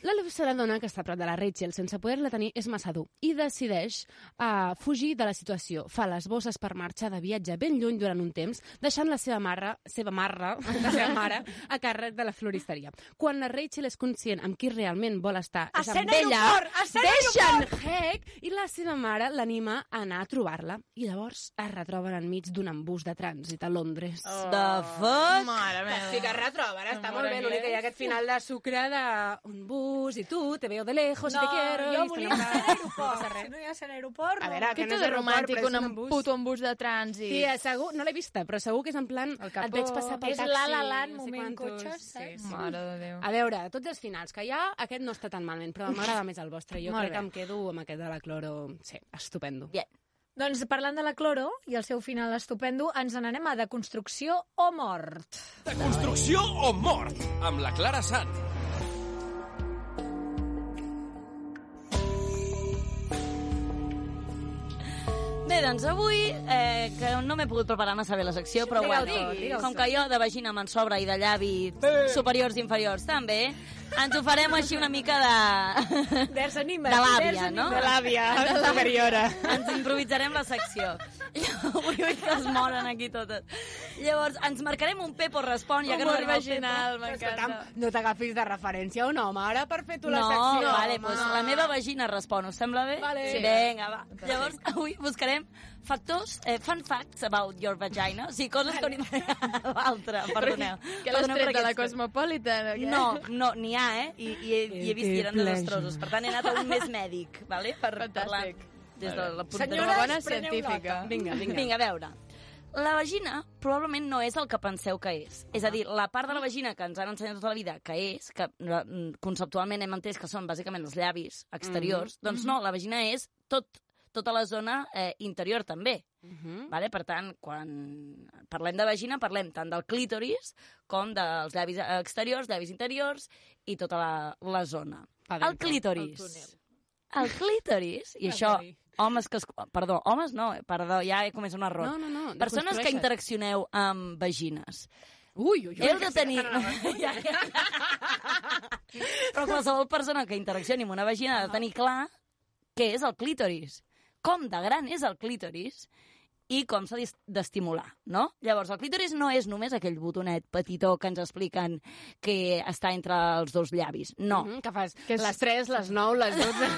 S6: La Luz se n'adona que està a prop de la Rachel sense poder-la tenir és massa dur i decideix uh, fugir de la situació. Fa les bosses per marxar de viatge ben lluny durant un temps, deixant la seva marra, seva marra, la seva mare, a càrrec de la floristeria. Quan la Rachel és conscient amb qui realment vol estar, és amb
S7: Escena
S6: ella,
S7: aeroport! Escena
S6: deixen
S7: aeroport!
S6: Heck i la seva mare l'anima a anar a trobar-la i llavors es retroben enmig d'un embús de trànsit a Londres.
S8: Oh. The fuck? Mare meva.
S6: Sí que es retroben, està
S8: Mare
S6: molt bé, l'únic
S8: meva.
S6: que hi ha aquest final de sucre de un bus i tu, te veo de lejos i te quiero.
S7: jo
S6: i
S7: volia
S6: estan
S7: ser a l'aeroport. Si no Ah. hi ha ser a l'aeroport, no.
S6: A veure,
S9: Què
S6: que no
S9: té
S6: és
S9: de
S6: aeroport,
S9: romàntic
S6: però és
S9: un
S6: un embús.
S9: puto embús de trànsit?
S6: Sí, eh, segur, no l'he vista, però segur que és en plan... Et veig passar pel
S7: és
S6: taxi.
S7: la la land,
S6: no sé
S7: moment
S6: quantos.
S7: cotxe, saps?
S6: Sí.
S9: Mare de Déu. Ah,
S6: A veure, de tots els finals que hi ha, aquest no està tan malament, però m'agrada més el vostre. Jo
S7: Molt
S6: crec
S7: bé.
S6: que em quedo amb aquest de la cloro... Sí, estupendo.
S8: Bien.
S7: Doncs parlant de la Cloro i el seu final estupendo, ens n'anem a Deconstrucció o Mort.
S1: Construcció o mort, amb la Clara Sant.
S8: Bé, doncs avui, eh, que no m'he pogut preparar massa bé la secció, però
S7: Digue-ho
S8: bueno,
S7: tu, digue-ho
S8: com
S7: tu.
S8: que jo de vagina me'n sobra i de llavi superiors i inferiors també, ens ho farem així una mica de...
S7: Desanima.
S8: De l'àvia, no? De l'àvia.
S6: superiora.
S8: Ens improvisarem la secció. Avui veig que es moren aquí totes. Llavors, ens marcarem un Pepo respon, ja que no
S9: Humor
S8: arriba el
S9: vaginal,
S8: Pepo.
S9: m'encanta.
S6: No t'agafis de referència a un home, ara per fer tu la
S8: no,
S6: secció.
S8: vale,
S6: home.
S8: pues la meva vagina respon, us sembla bé?
S6: Vale.
S8: Sí. Vinga, va. Llavors, avui buscarem factors, eh, fun facts about your vagina, o sigui, coses que no hi ha l'altra, perdoneu.
S9: Que l'has
S8: Perdoneu
S9: tret de
S8: per
S9: la
S8: aquests-
S9: Cosmopolitan, o què?
S8: No, no, n'hi ha, eh? I, i, he, i he vist que eren
S9: pleasure.
S8: desastrosos. Per tant, he anat a un més mèdic, vale? per parlar des de la punta
S9: Senyores, Una bona preneu científica. nota.
S6: Vinga, vinga.
S8: Vinga, a veure. La vagina probablement no és el que penseu que és. És a dir, la part de la vagina que ens han ensenyat tota la vida que és, que mm, conceptualment hem entès que són bàsicament els llavis exteriors,
S6: Mhm.
S8: doncs no, la vagina és tot, tota la zona eh, interior també.
S6: Mhm.
S8: Vale? Per tant, quan parlem de vagina, parlem tant del clítoris com dels llavis exteriors, llavis interiors i tota la, la zona.
S6: Pa
S8: El
S6: dentro.
S8: clítoris. El clítoris, i això, homes que... Es... Perdó, homes no, eh, perdó, ja he comès un error.
S6: No, no, no,
S8: Persones que
S6: deconstrueixes.
S8: interaccioneu amb vagines.
S6: Ui, ui, ui.
S8: Heu de tenir... Ja, ja. Però qualsevol persona que interaccioni amb una vagina
S6: Ah.
S8: ha de tenir clar què és el clítoris, com de gran és el clítoris i com s'ha d'est- d'estimular, no? Llavors, el clítoris no és només aquell botonet petitó que ens expliquen que està entre els dos llavis, no.
S6: Mhm, que fas les 3, les 9, les 12...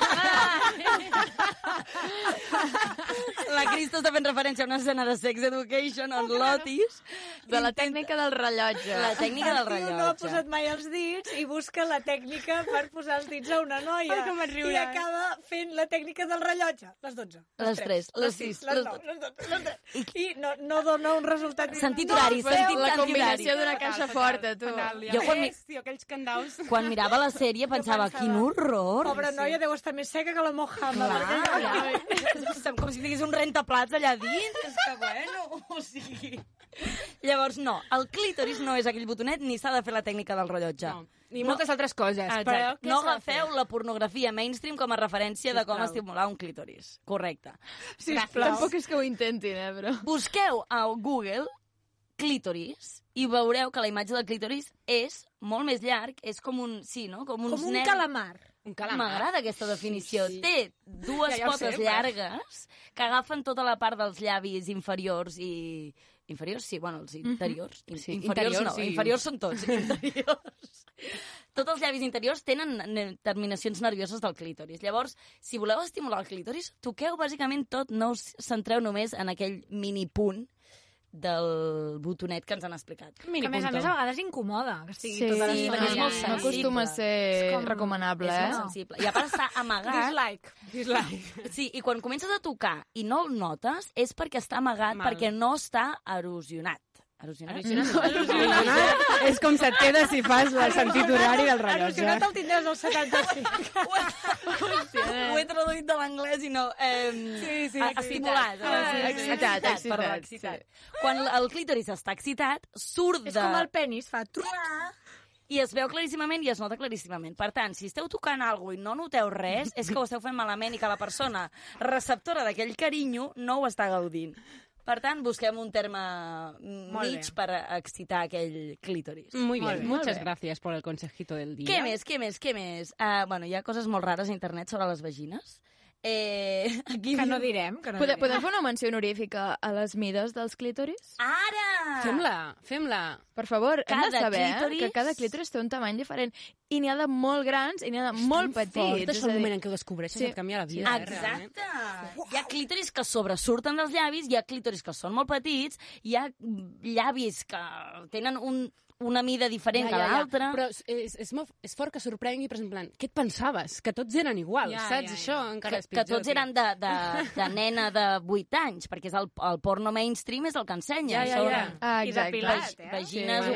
S8: la Crista està fent referència a una escena de Sex Education on Lotis... De la tècnica del rellotge. La tècnica del
S7: El tio
S8: rellotge.
S7: no ha posat mai els dits i busca la tècnica per posar els dits a una noia.
S8: Ai, que me'n riuràs.
S7: I acaba fent la tècnica del rellotge. Les 12.
S8: Les tres, les sis,
S7: Les
S8: les
S7: 9, les 12, les 3. I no, no dona un resultat...
S8: Sentit horari,
S7: veu?
S8: sentit La combinació horari. d'una
S6: caixa
S8: forta, tu.
S6: Jo
S8: Jo quan mi-
S6: Tio, aquells candaus...
S8: Quan mirava la sèrie pensava, quin horror!
S7: Pobra noia deu estar més seca que la Mojama.
S8: Clar.
S7: Clar,
S8: com si tingués un rentaplats allà dins. És que bueno, o sigui... Llavors, no, el clítoris no és aquell botonet ni s'ha de fer la tècnica del rellotge. No.
S6: Ni moltes altres coses, però què
S8: no
S6: s'ha de
S8: agafeu la pornografia mainstream com a referència de com
S6: Sisplau.
S8: estimular un clítoris. Correcte.
S9: Gràcies. Tampoc és que ho intentin, eh, però...
S8: Busqueu a Google clítoris i veureu que la imatge del clítoris és molt més llarg, és com un, sí, no? Com, uns
S7: Com un
S8: nervis.
S7: calamar.
S6: Un
S7: calamar.
S8: M'agrada aquesta definició. Sí, sí. Té dues ja,
S7: Ja, ja
S8: ja
S7: ho
S8: potes
S7: sé,
S8: llargues que agafen tota la part dels llavis inferiors i... Inferiors, sí, bueno, els interiors. Mm -hmm.
S6: Sí,
S8: sí, inferiors
S6: interiors,
S8: no,
S6: sí.
S8: inferiors són tots. Interiors. Tots els llavis interiors tenen ne- terminacions nervioses del clítoris. Llavors, si voleu estimular el clítoris, toqueu bàsicament tot, no us centreu només en aquell mini punt del botonet que ens han explicat.
S7: que a més a més a vegades incomoda que estigui
S9: Sí,
S7: tota
S9: sí,
S7: l'estona
S9: perquè és molt
S7: allà.
S9: No acostuma a ser
S8: És
S9: com... recomanable,
S8: és
S9: eh?
S8: molt sensible. I a part està amagat.
S7: Dislike. Dislike.
S8: Sí, i quan comences a tocar i no el notes és perquè està amagat,
S6: Mal.
S8: Mal. perquè no està erosionat. Erosionat?
S6: Ah,
S15: És com se t'eda si fas el sentit horari del
S7: Erosionat
S15: rellotge.
S7: el tindràs al 75.
S8: Ho he traduït de l'anglès i no... Eh,
S7: Sí, sí,
S8: a-
S7: excitat.
S8: estimulat.
S7: Ah, sí, sí.
S8: Excitat,
S7: Excitat,
S8: excitat, perdó,
S7: excitat,
S8: excitat. Quan l- el clítoris està excitat, surt de...
S7: És com el penis, fa... truc.
S8: I es veu claríssimament i es nota claríssimament. Per tant, si esteu tocant alguna i no noteu res, és que ho esteu fent malament i que la persona receptora d'aquell carinyo no ho està gaudint. Per tant, busquem un terme
S6: Molt
S8: mig
S6: bé. Mm.
S8: per excitar aquell clítoris.
S6: Muy bien,
S8: Molt bé,
S6: muchas
S8: molt bé.
S6: gracias por el consejito del día.
S8: Què més, què més, què més? Uh, bueno, hi ha coses molt rares a internet sobre les vagines. Eh, aquí
S7: Que no direm, que no
S9: Podem,
S7: direm.
S9: podem fer una menció honorífica a les mides dels clítoris?
S8: Ara!
S6: Fem-la, fem-la.
S9: Per favor, hem de
S6: Cada
S9: saber eh,
S6: clítoris-
S9: que cada clítoris té un tamany diferent. I n'hi ha de molt grans i n'hi ha de molt petits.
S6: fortes
S9: és
S6: el
S9: a dir-
S6: moment en què ho descobreixes, et canvia la vida, eh, realment.
S8: Ah, Exacte. Hi ha clítoris que sobresurten dels llavis, hi ha clítoris que són molt petits, hi ha llavis que tenen un, una mida diferent que l'altra.
S6: Però és, és, és, molt, és fort que sorprengui, però és en plan, què et pensaves? Que tots eren igual,
S8: Ja,
S6: saps?
S8: ja, ja.
S6: Això encara
S8: que,
S6: és pitjor.
S8: Que tots
S6: tio.
S8: eren de, de, de nena de 8 anys, perquè és el, el porno mainstream és el que ensenya.
S6: Ja, ja,
S8: a sobre.
S6: ja. Ah, I exacte. depilat,
S8: Vag-
S6: eh?
S8: Vagines
S9: Sí,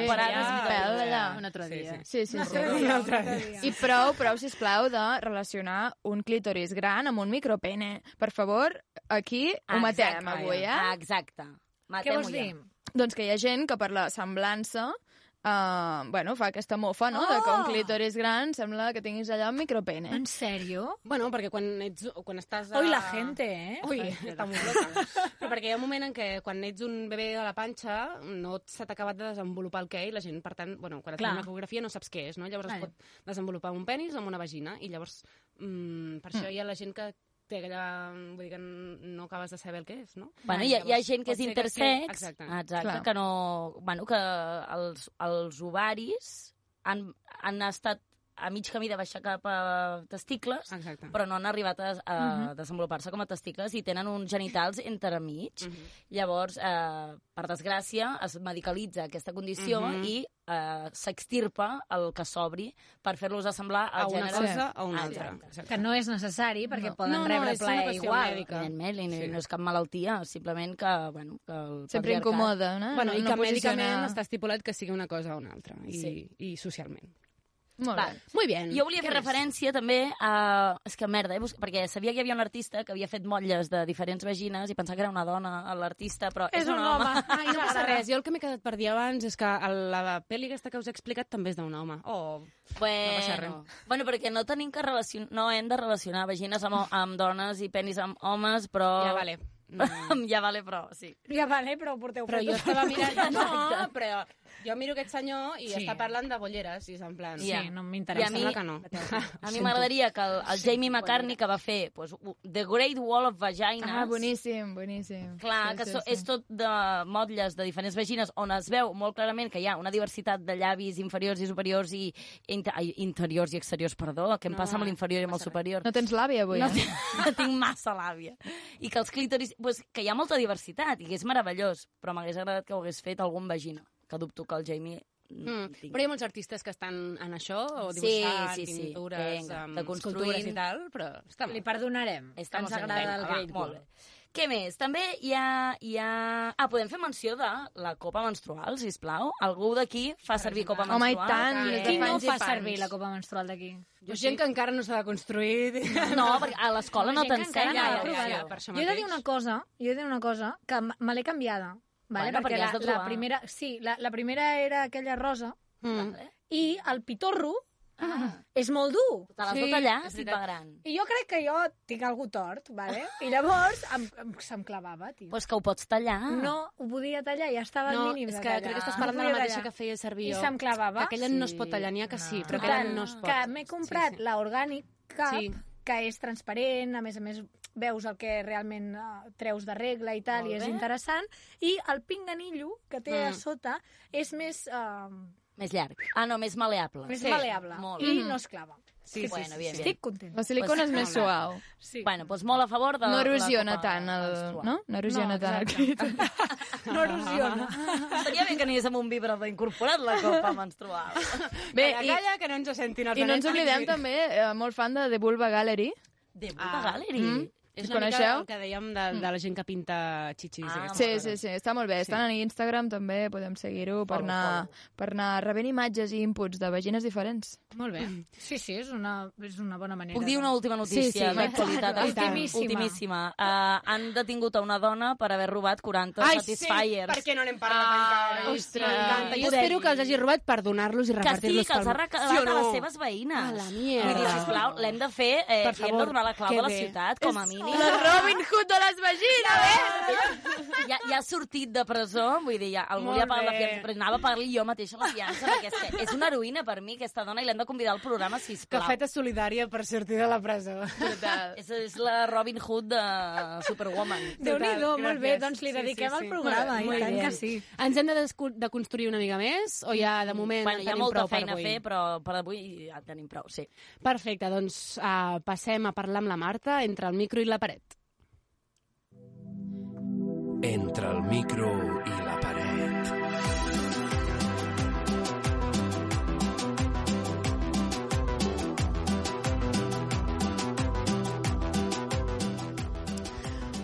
S9: sí,
S8: operades i
S9: sí.
S8: depilat.
S9: Pèl allà. Un altre
S8: dia.
S9: Sí, sí,
S8: Un
S9: sí.
S8: altre dia, un altre dia.
S9: I prou, prou, sisplau, de relacionar un clítoris gran amb un micropene. Per favor, aquí ho matem
S8: Exacte, Ah.
S9: avui, eh?
S8: ja. Exacte. Matem-ho vols ja. dir?
S9: Doncs que hi ha gent que per la semblança Uh, bueno, fa aquesta mofa, no? De que un clítoris gran sembla que tinguis allà un micropene.
S7: En sèrio?
S6: Bueno, perquè quan ets... o Quan estàs
S7: Ui, la gente, eh?
S6: Ui,
S7: Ai,
S6: està molt loca. Però perquè hi ha un moment en què quan ets un bebè a la panxa no et- s'ha acabat de desenvolupar el que i la gent, per tant, bueno, quan et
S8: Clar.
S6: fan una ecografia no saps què és, no? Llavors es
S8: Vale.
S6: pot desenvolupar amb un penis o amb una vagina i llavors mm, per això hi ha la gent que té aquella... Vull dir que no acabes de saber el que és, no?
S8: Bueno, hi ha, hi ha
S6: Llavors,
S8: gent que
S6: pot
S8: és
S6: ser
S8: intersex,
S6: sigui-
S8: exacte,
S6: Exacte.
S8: exacte que no... Bueno, que els, els ovaris han, han estat a mig camí de baixar cap a testicles,
S6: exacte.
S8: però no han arribat a, a
S6: Mhm.
S8: desenvolupar-se com a testicles i tenen uns genitals entremig.
S6: Mhm.
S8: Llavors, eh, per desgràcia, es medicalitza aquesta condició
S6: Mhm.
S8: i eh, s'extirpa el que s'obri per fer-los assemblar
S6: A
S8: al
S6: una
S8: gènere.
S6: cosa o a una
S8: Ah,
S6: altra.
S8: exacte.
S7: Que no és necessari, perquè poden rebre plaer igual.
S8: eh, Evidentment, i no- no és cap malaltia, simplement que, bueno, que el
S9: Sempre
S8: patriarcat-
S9: incomoda,
S8: Ah,
S9: no?
S6: Bueno, i
S9: no
S6: que
S9: posiciona-
S6: mèdicament està estipulat que sigui una cosa o una altra, i, sí. i socialment.
S9: Molt
S8: Va.
S6: bé. Muy bien.
S8: Jo volia
S6: Què
S8: fer
S6: més?
S8: referència també a... És que merda, eh? bus- perquè sabia que hi havia un artista que havia fet motlles de diferents vagines i pensava que era una dona l'artista, però és,
S6: Ai, no passa res. Jo el que m'he quedat per dir abans és que el- la pel·li aquesta que us he explicat també és d'un home. Oh,
S8: Bueno,
S6: no passa res.
S8: bueno, perquè no tenim que relacion... no hem de relacionar vagines amb, amb dones i penis amb homes, però...
S6: Ja vale.
S8: ja vale, però, sí.
S7: Ja vale, però ho porteu
S6: Però jo estava mirant... No, però Jo miro aquest senyor i
S8: Sí.
S6: està parlant de bolleres i és en plan...
S8: Ja. I a mi,
S6: Sembla que no.
S8: A mi m'agradaria que el, el
S6: Sí, sí,
S8: Jamie McCartney, que va fer pues, u- The Great Wall of Vagines...
S9: Ah, boníssim, boníssim.
S8: Clar,
S9: Sí,
S8: que
S9: sí,
S8: so,
S9: sí.
S8: és tot de motlles de diferents vagines on es veu molt clarament que hi ha una diversitat de llavis inferiors i superiors i inter, ai, interiors i exteriors, perdó, que em
S9: No,
S8: passa amb
S9: no
S8: l'inferior i amb el superior.
S9: No tens l'àvia, avui,
S8: No,
S9: eh?
S8: tinc, tinc massa l'àvia. I que els clítoris... Pues, que hi ha molta diversitat i que és meravellós, però m'hagués agradat que ho hagués fet algun vagina, que dubto que el Jamie...
S6: Mm. Però hi ha molts artistes que estan en això, o
S8: Sí,
S6: dibuixant,
S8: sí, sí.
S6: pintures,
S8: Vinga,
S6: amb
S8: de construint.
S6: escultures i tal, però està molt.
S7: Li perdonarem, que
S8: Estamos
S7: ens
S8: en
S7: agrada
S8: tema,
S7: el
S8: va,
S7: Great
S8: Ah, molt
S7: Wall.
S8: bé. Què més? També hi ha, hi ha... Ah, podem fer menció de la copa menstrual, si plau. Algú d'aquí fa servir copa
S9: Home, i
S8: menstrual?
S9: tant, des de
S7: Qui no
S9: fans i
S7: fa
S9: fans.
S7: servir la copa menstrual d'aquí?
S6: Jo gent que encara no s'ha de construir...
S8: No, perquè a l'escola no t'ensenya.
S6: Ja, ja, ja,
S8: la copa.
S6: ja, per això
S7: Jo he de dir una cosa, jo he de dir una cosa, que m- me l'he canviada. Vale?
S8: Bueno, perquè
S7: perquè la,
S8: has de
S7: la
S8: trobar.
S7: primera, sí, la, la primera era aquella rosa
S6: mm.
S7: i el pitorro ah. és molt dur.
S8: Te l'has de tallar, sí, pa gran.
S7: I jo crec que jo tinc algú tort, vale? i llavors em, em, se'm clavava, tio.
S8: Pues que ho pots tallar.
S7: No, ho podia tallar, ja estava
S6: Ah. No,
S7: al mínim
S6: és
S7: de
S6: que
S7: tallar.
S6: crec que estàs parlant de la
S7: podia
S6: mateixa
S7: tallar.
S6: que feia servir
S7: I
S6: jo,
S7: se'm clavava.
S6: que aquella no es pot tallar, n'hi ha que sí, però aquella
S7: Total,
S6: no es pot.
S7: Que m'he comprat sí, sí. l'orgànic cap,
S6: Sí.
S7: sí. que és transparent, a més a més veus el que realment uh, treus de regla i tal,
S8: Molt
S7: i és
S8: bé.
S7: interessant. I el pinganillo que té
S8: Mm.
S7: mm. a sota és més, uh,
S8: Més llarg. Ah, no, més maleable.
S7: més sí. maleable
S8: Molt.
S6: Mm-hmm.
S7: i no es clava.
S8: Sí, sí, bueno,
S9: sí,
S8: bien,
S9: sí.
S8: bien.
S7: Estic content.
S9: La silicona és més
S8: molt bé.
S9: suau.
S7: Sí.
S8: Bueno, doncs molt a favor de
S9: No
S8: la
S9: erosiona
S8: copa
S9: tant, el,
S8: menstrual.
S9: no? No erosiona
S8: No,
S9: tant el crit.
S7: No erosiona.
S8: Estaria Ah. bé que anés amb un vibrador incorporat la copa menstrual.
S9: Bé,
S6: Calla,
S9: i-
S6: calla, que no ens sentin els
S9: I no ens
S6: nens.
S9: oblidem també, eh, molt fan de The Vulva Gallery.
S8: De
S6: Ah.
S8: Gallery.
S9: Mm.
S6: És
S9: Els
S6: una mica
S9: coneixeu?
S6: el que dèiem de, de la gent que pinta xixis. i aquestes
S9: Sí,
S6: coses.
S9: sí, sí, està molt bé. Estan a Instagram també, podem seguir-ho per, anar, per anar rebent imatges i inputs de vagines diferents.
S6: Molt bé.
S7: Sí, sí, és una, és una bona manera.
S8: Puc dir una última notícia
S9: Sí, sí,
S8: d'actualitat?
S7: i tant.
S8: Ultimíssima.
S7: Ultimíssima.
S8: Ultimíssima. Uh, han detingut a una dona per haver robat 40
S6: Ai, sí,
S8: Satisfiers.
S6: per què no n'hem parlat encara?
S8: ostres,
S6: M'encanta. Jo
S8: poder.
S6: espero que els hagi robat per donar-los i
S8: Que sí,
S6: repartir-los
S8: que els ha regalat
S6: Sí o
S8: a
S6: no?
S8: les seves veïnes.
S6: A la mierda.
S8: Vull dir, sisplau, l'hem de fer eh,
S6: Per
S8: i hem de
S6: favor,
S8: donar la clau
S6: que
S8: de la
S6: bé.
S8: ciutat, com a mínim.
S9: La Robin Hood de les vagines, eh?
S8: Ja, ja ha sortit de presó, vull dir, ja, algú
S6: Molt
S8: li ha pagat la
S6: bé.
S8: fiança, però anava a pagar-li jo mateixa la fiança, perquè és, que és una heroïna per mi, aquesta dona, i l'hem de convidar al programa, sisplau.
S6: Cafeta solidària per sortir de la presó.
S8: És, és la Robin Hood de Superwoman.
S7: Déu-n'hi-do,
S6: Total,
S7: molt bé,
S6: gràcies.
S7: doncs li
S6: Sí,
S7: dediquem
S6: sí, sí.
S7: el programa,
S6: Molt
S7: i tant
S6: bé.
S7: que sí.
S6: Ens hem de, descu- de construir una mica més o ja de moment
S8: bueno,
S6: en
S8: hi ha
S6: tenim
S8: molta
S6: prou per
S8: feina a
S6: avui?
S8: fer, però per avui ja en tenim prou, sí.
S6: Perfecte, doncs uh, passem a parlar amb la Marta entre el micro i la paret.
S1: Entre el micro i la paret.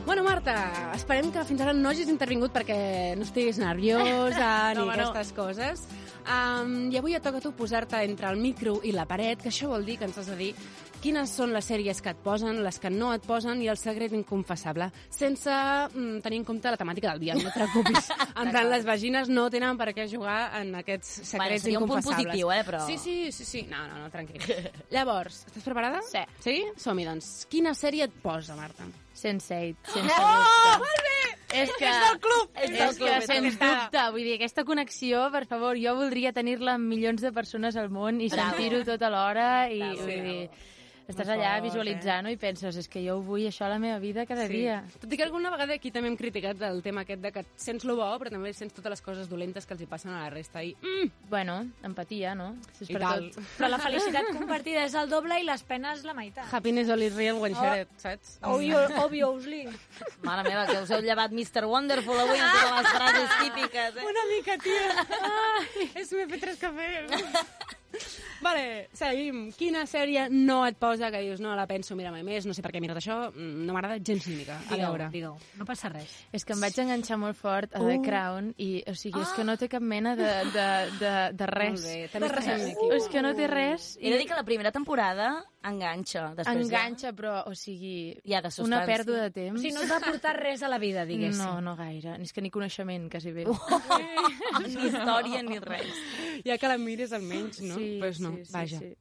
S6: Bueno, Marta, esperem que fins ara no hagis intervingut perquè no estiguis nerviosa ni
S15: No,
S6: no,
S15: home, no.
S6: aquestes coses. Um, I avui et toca a tu posar-te entre el micro i la paret, que això vol dir que ens has de dir quines són les sèries que et posen, les que no et posen i el secret inconfessable, sense mm, tenir en compte la temàtica del dia, no et preocupis. en plan, les vagines no tenen per què jugar en aquests secrets
S8: seria un punt
S6: inconfessables.
S8: positiu, eh, però-
S6: Sí, sí, sí, sí. No, no, no, tranquil. Llavors, estàs preparada? Sí. Sí? Som-hi, doncs. Quina sèrie et posa, Marta?
S15: Sense8, sense
S6: Oh,
S15: dubte.
S6: molt
S15: És que,
S6: És del club!
S15: És,
S6: És del club,
S15: que,
S6: és
S15: sens
S6: aquesta.
S15: dubte, vull dir, aquesta connexió, per favor, jo voldria tenir-la amb milions de persones al món i
S8: Bravo.
S15: sentir-ho tot alhora i,
S8: Bravo.
S15: vull dir, estàs
S6: Molt
S15: allà
S6: fort,
S15: visualitzant-ho i penses, és que jo ho vull això a la meva vida cada dia.
S6: Tot i que alguna vegada aquí també hem criticat el tema aquest de que sents lo bo, però també sents totes les coses dolentes que els hi passen a la resta. I, mm,
S15: Bueno, empatia, no? Si és
S6: I
S15: per
S6: tal.
S15: tot.
S7: Però la felicitat compartida és el doble i les penes la meitat.
S6: happiness only real when
S7: Oh.
S6: shared, saps?
S15: Mm.
S7: Obvio, obviously.
S8: Mare meva, que us heu llevat Mr. Wonderful avui amb totes les frases típiques, eh?
S6: Una mica, tia. Ai, és m'he fet tres cafès. Vale, seguim. Quina sèrie no et posa que dius no la penso, mira mai més, no sé per què he mirat això, mm, no m'agrada gens ni mica. A
S7: Digue-ho,
S6: veure.
S7: digue-ho. No passa res.
S15: És que em vaig enganxar molt fort a The
S6: Uh.
S15: Crown i, o sigui,
S9: Ah.
S15: és que no té cap mena de, de, de, de res.
S6: Molt bé, també estàs amb
S15: aquí. És que no té res.
S8: He de dir que la primera temporada enganxa. Després
S15: Enganxa, però, o sigui,
S8: Hi ha de
S15: una
S8: substància.
S15: pèrdua de temps.
S7: O sigui, no et va portar res a la vida, diguéssim.
S15: No, no gaire. És que ni coneixement, quasi bé.
S8: Ja, Ah, ni història ni res.
S6: Ja que la mires almenys, no?
S15: Sí,
S6: pues no,
S15: sí, sí,
S6: vaja.
S15: sí.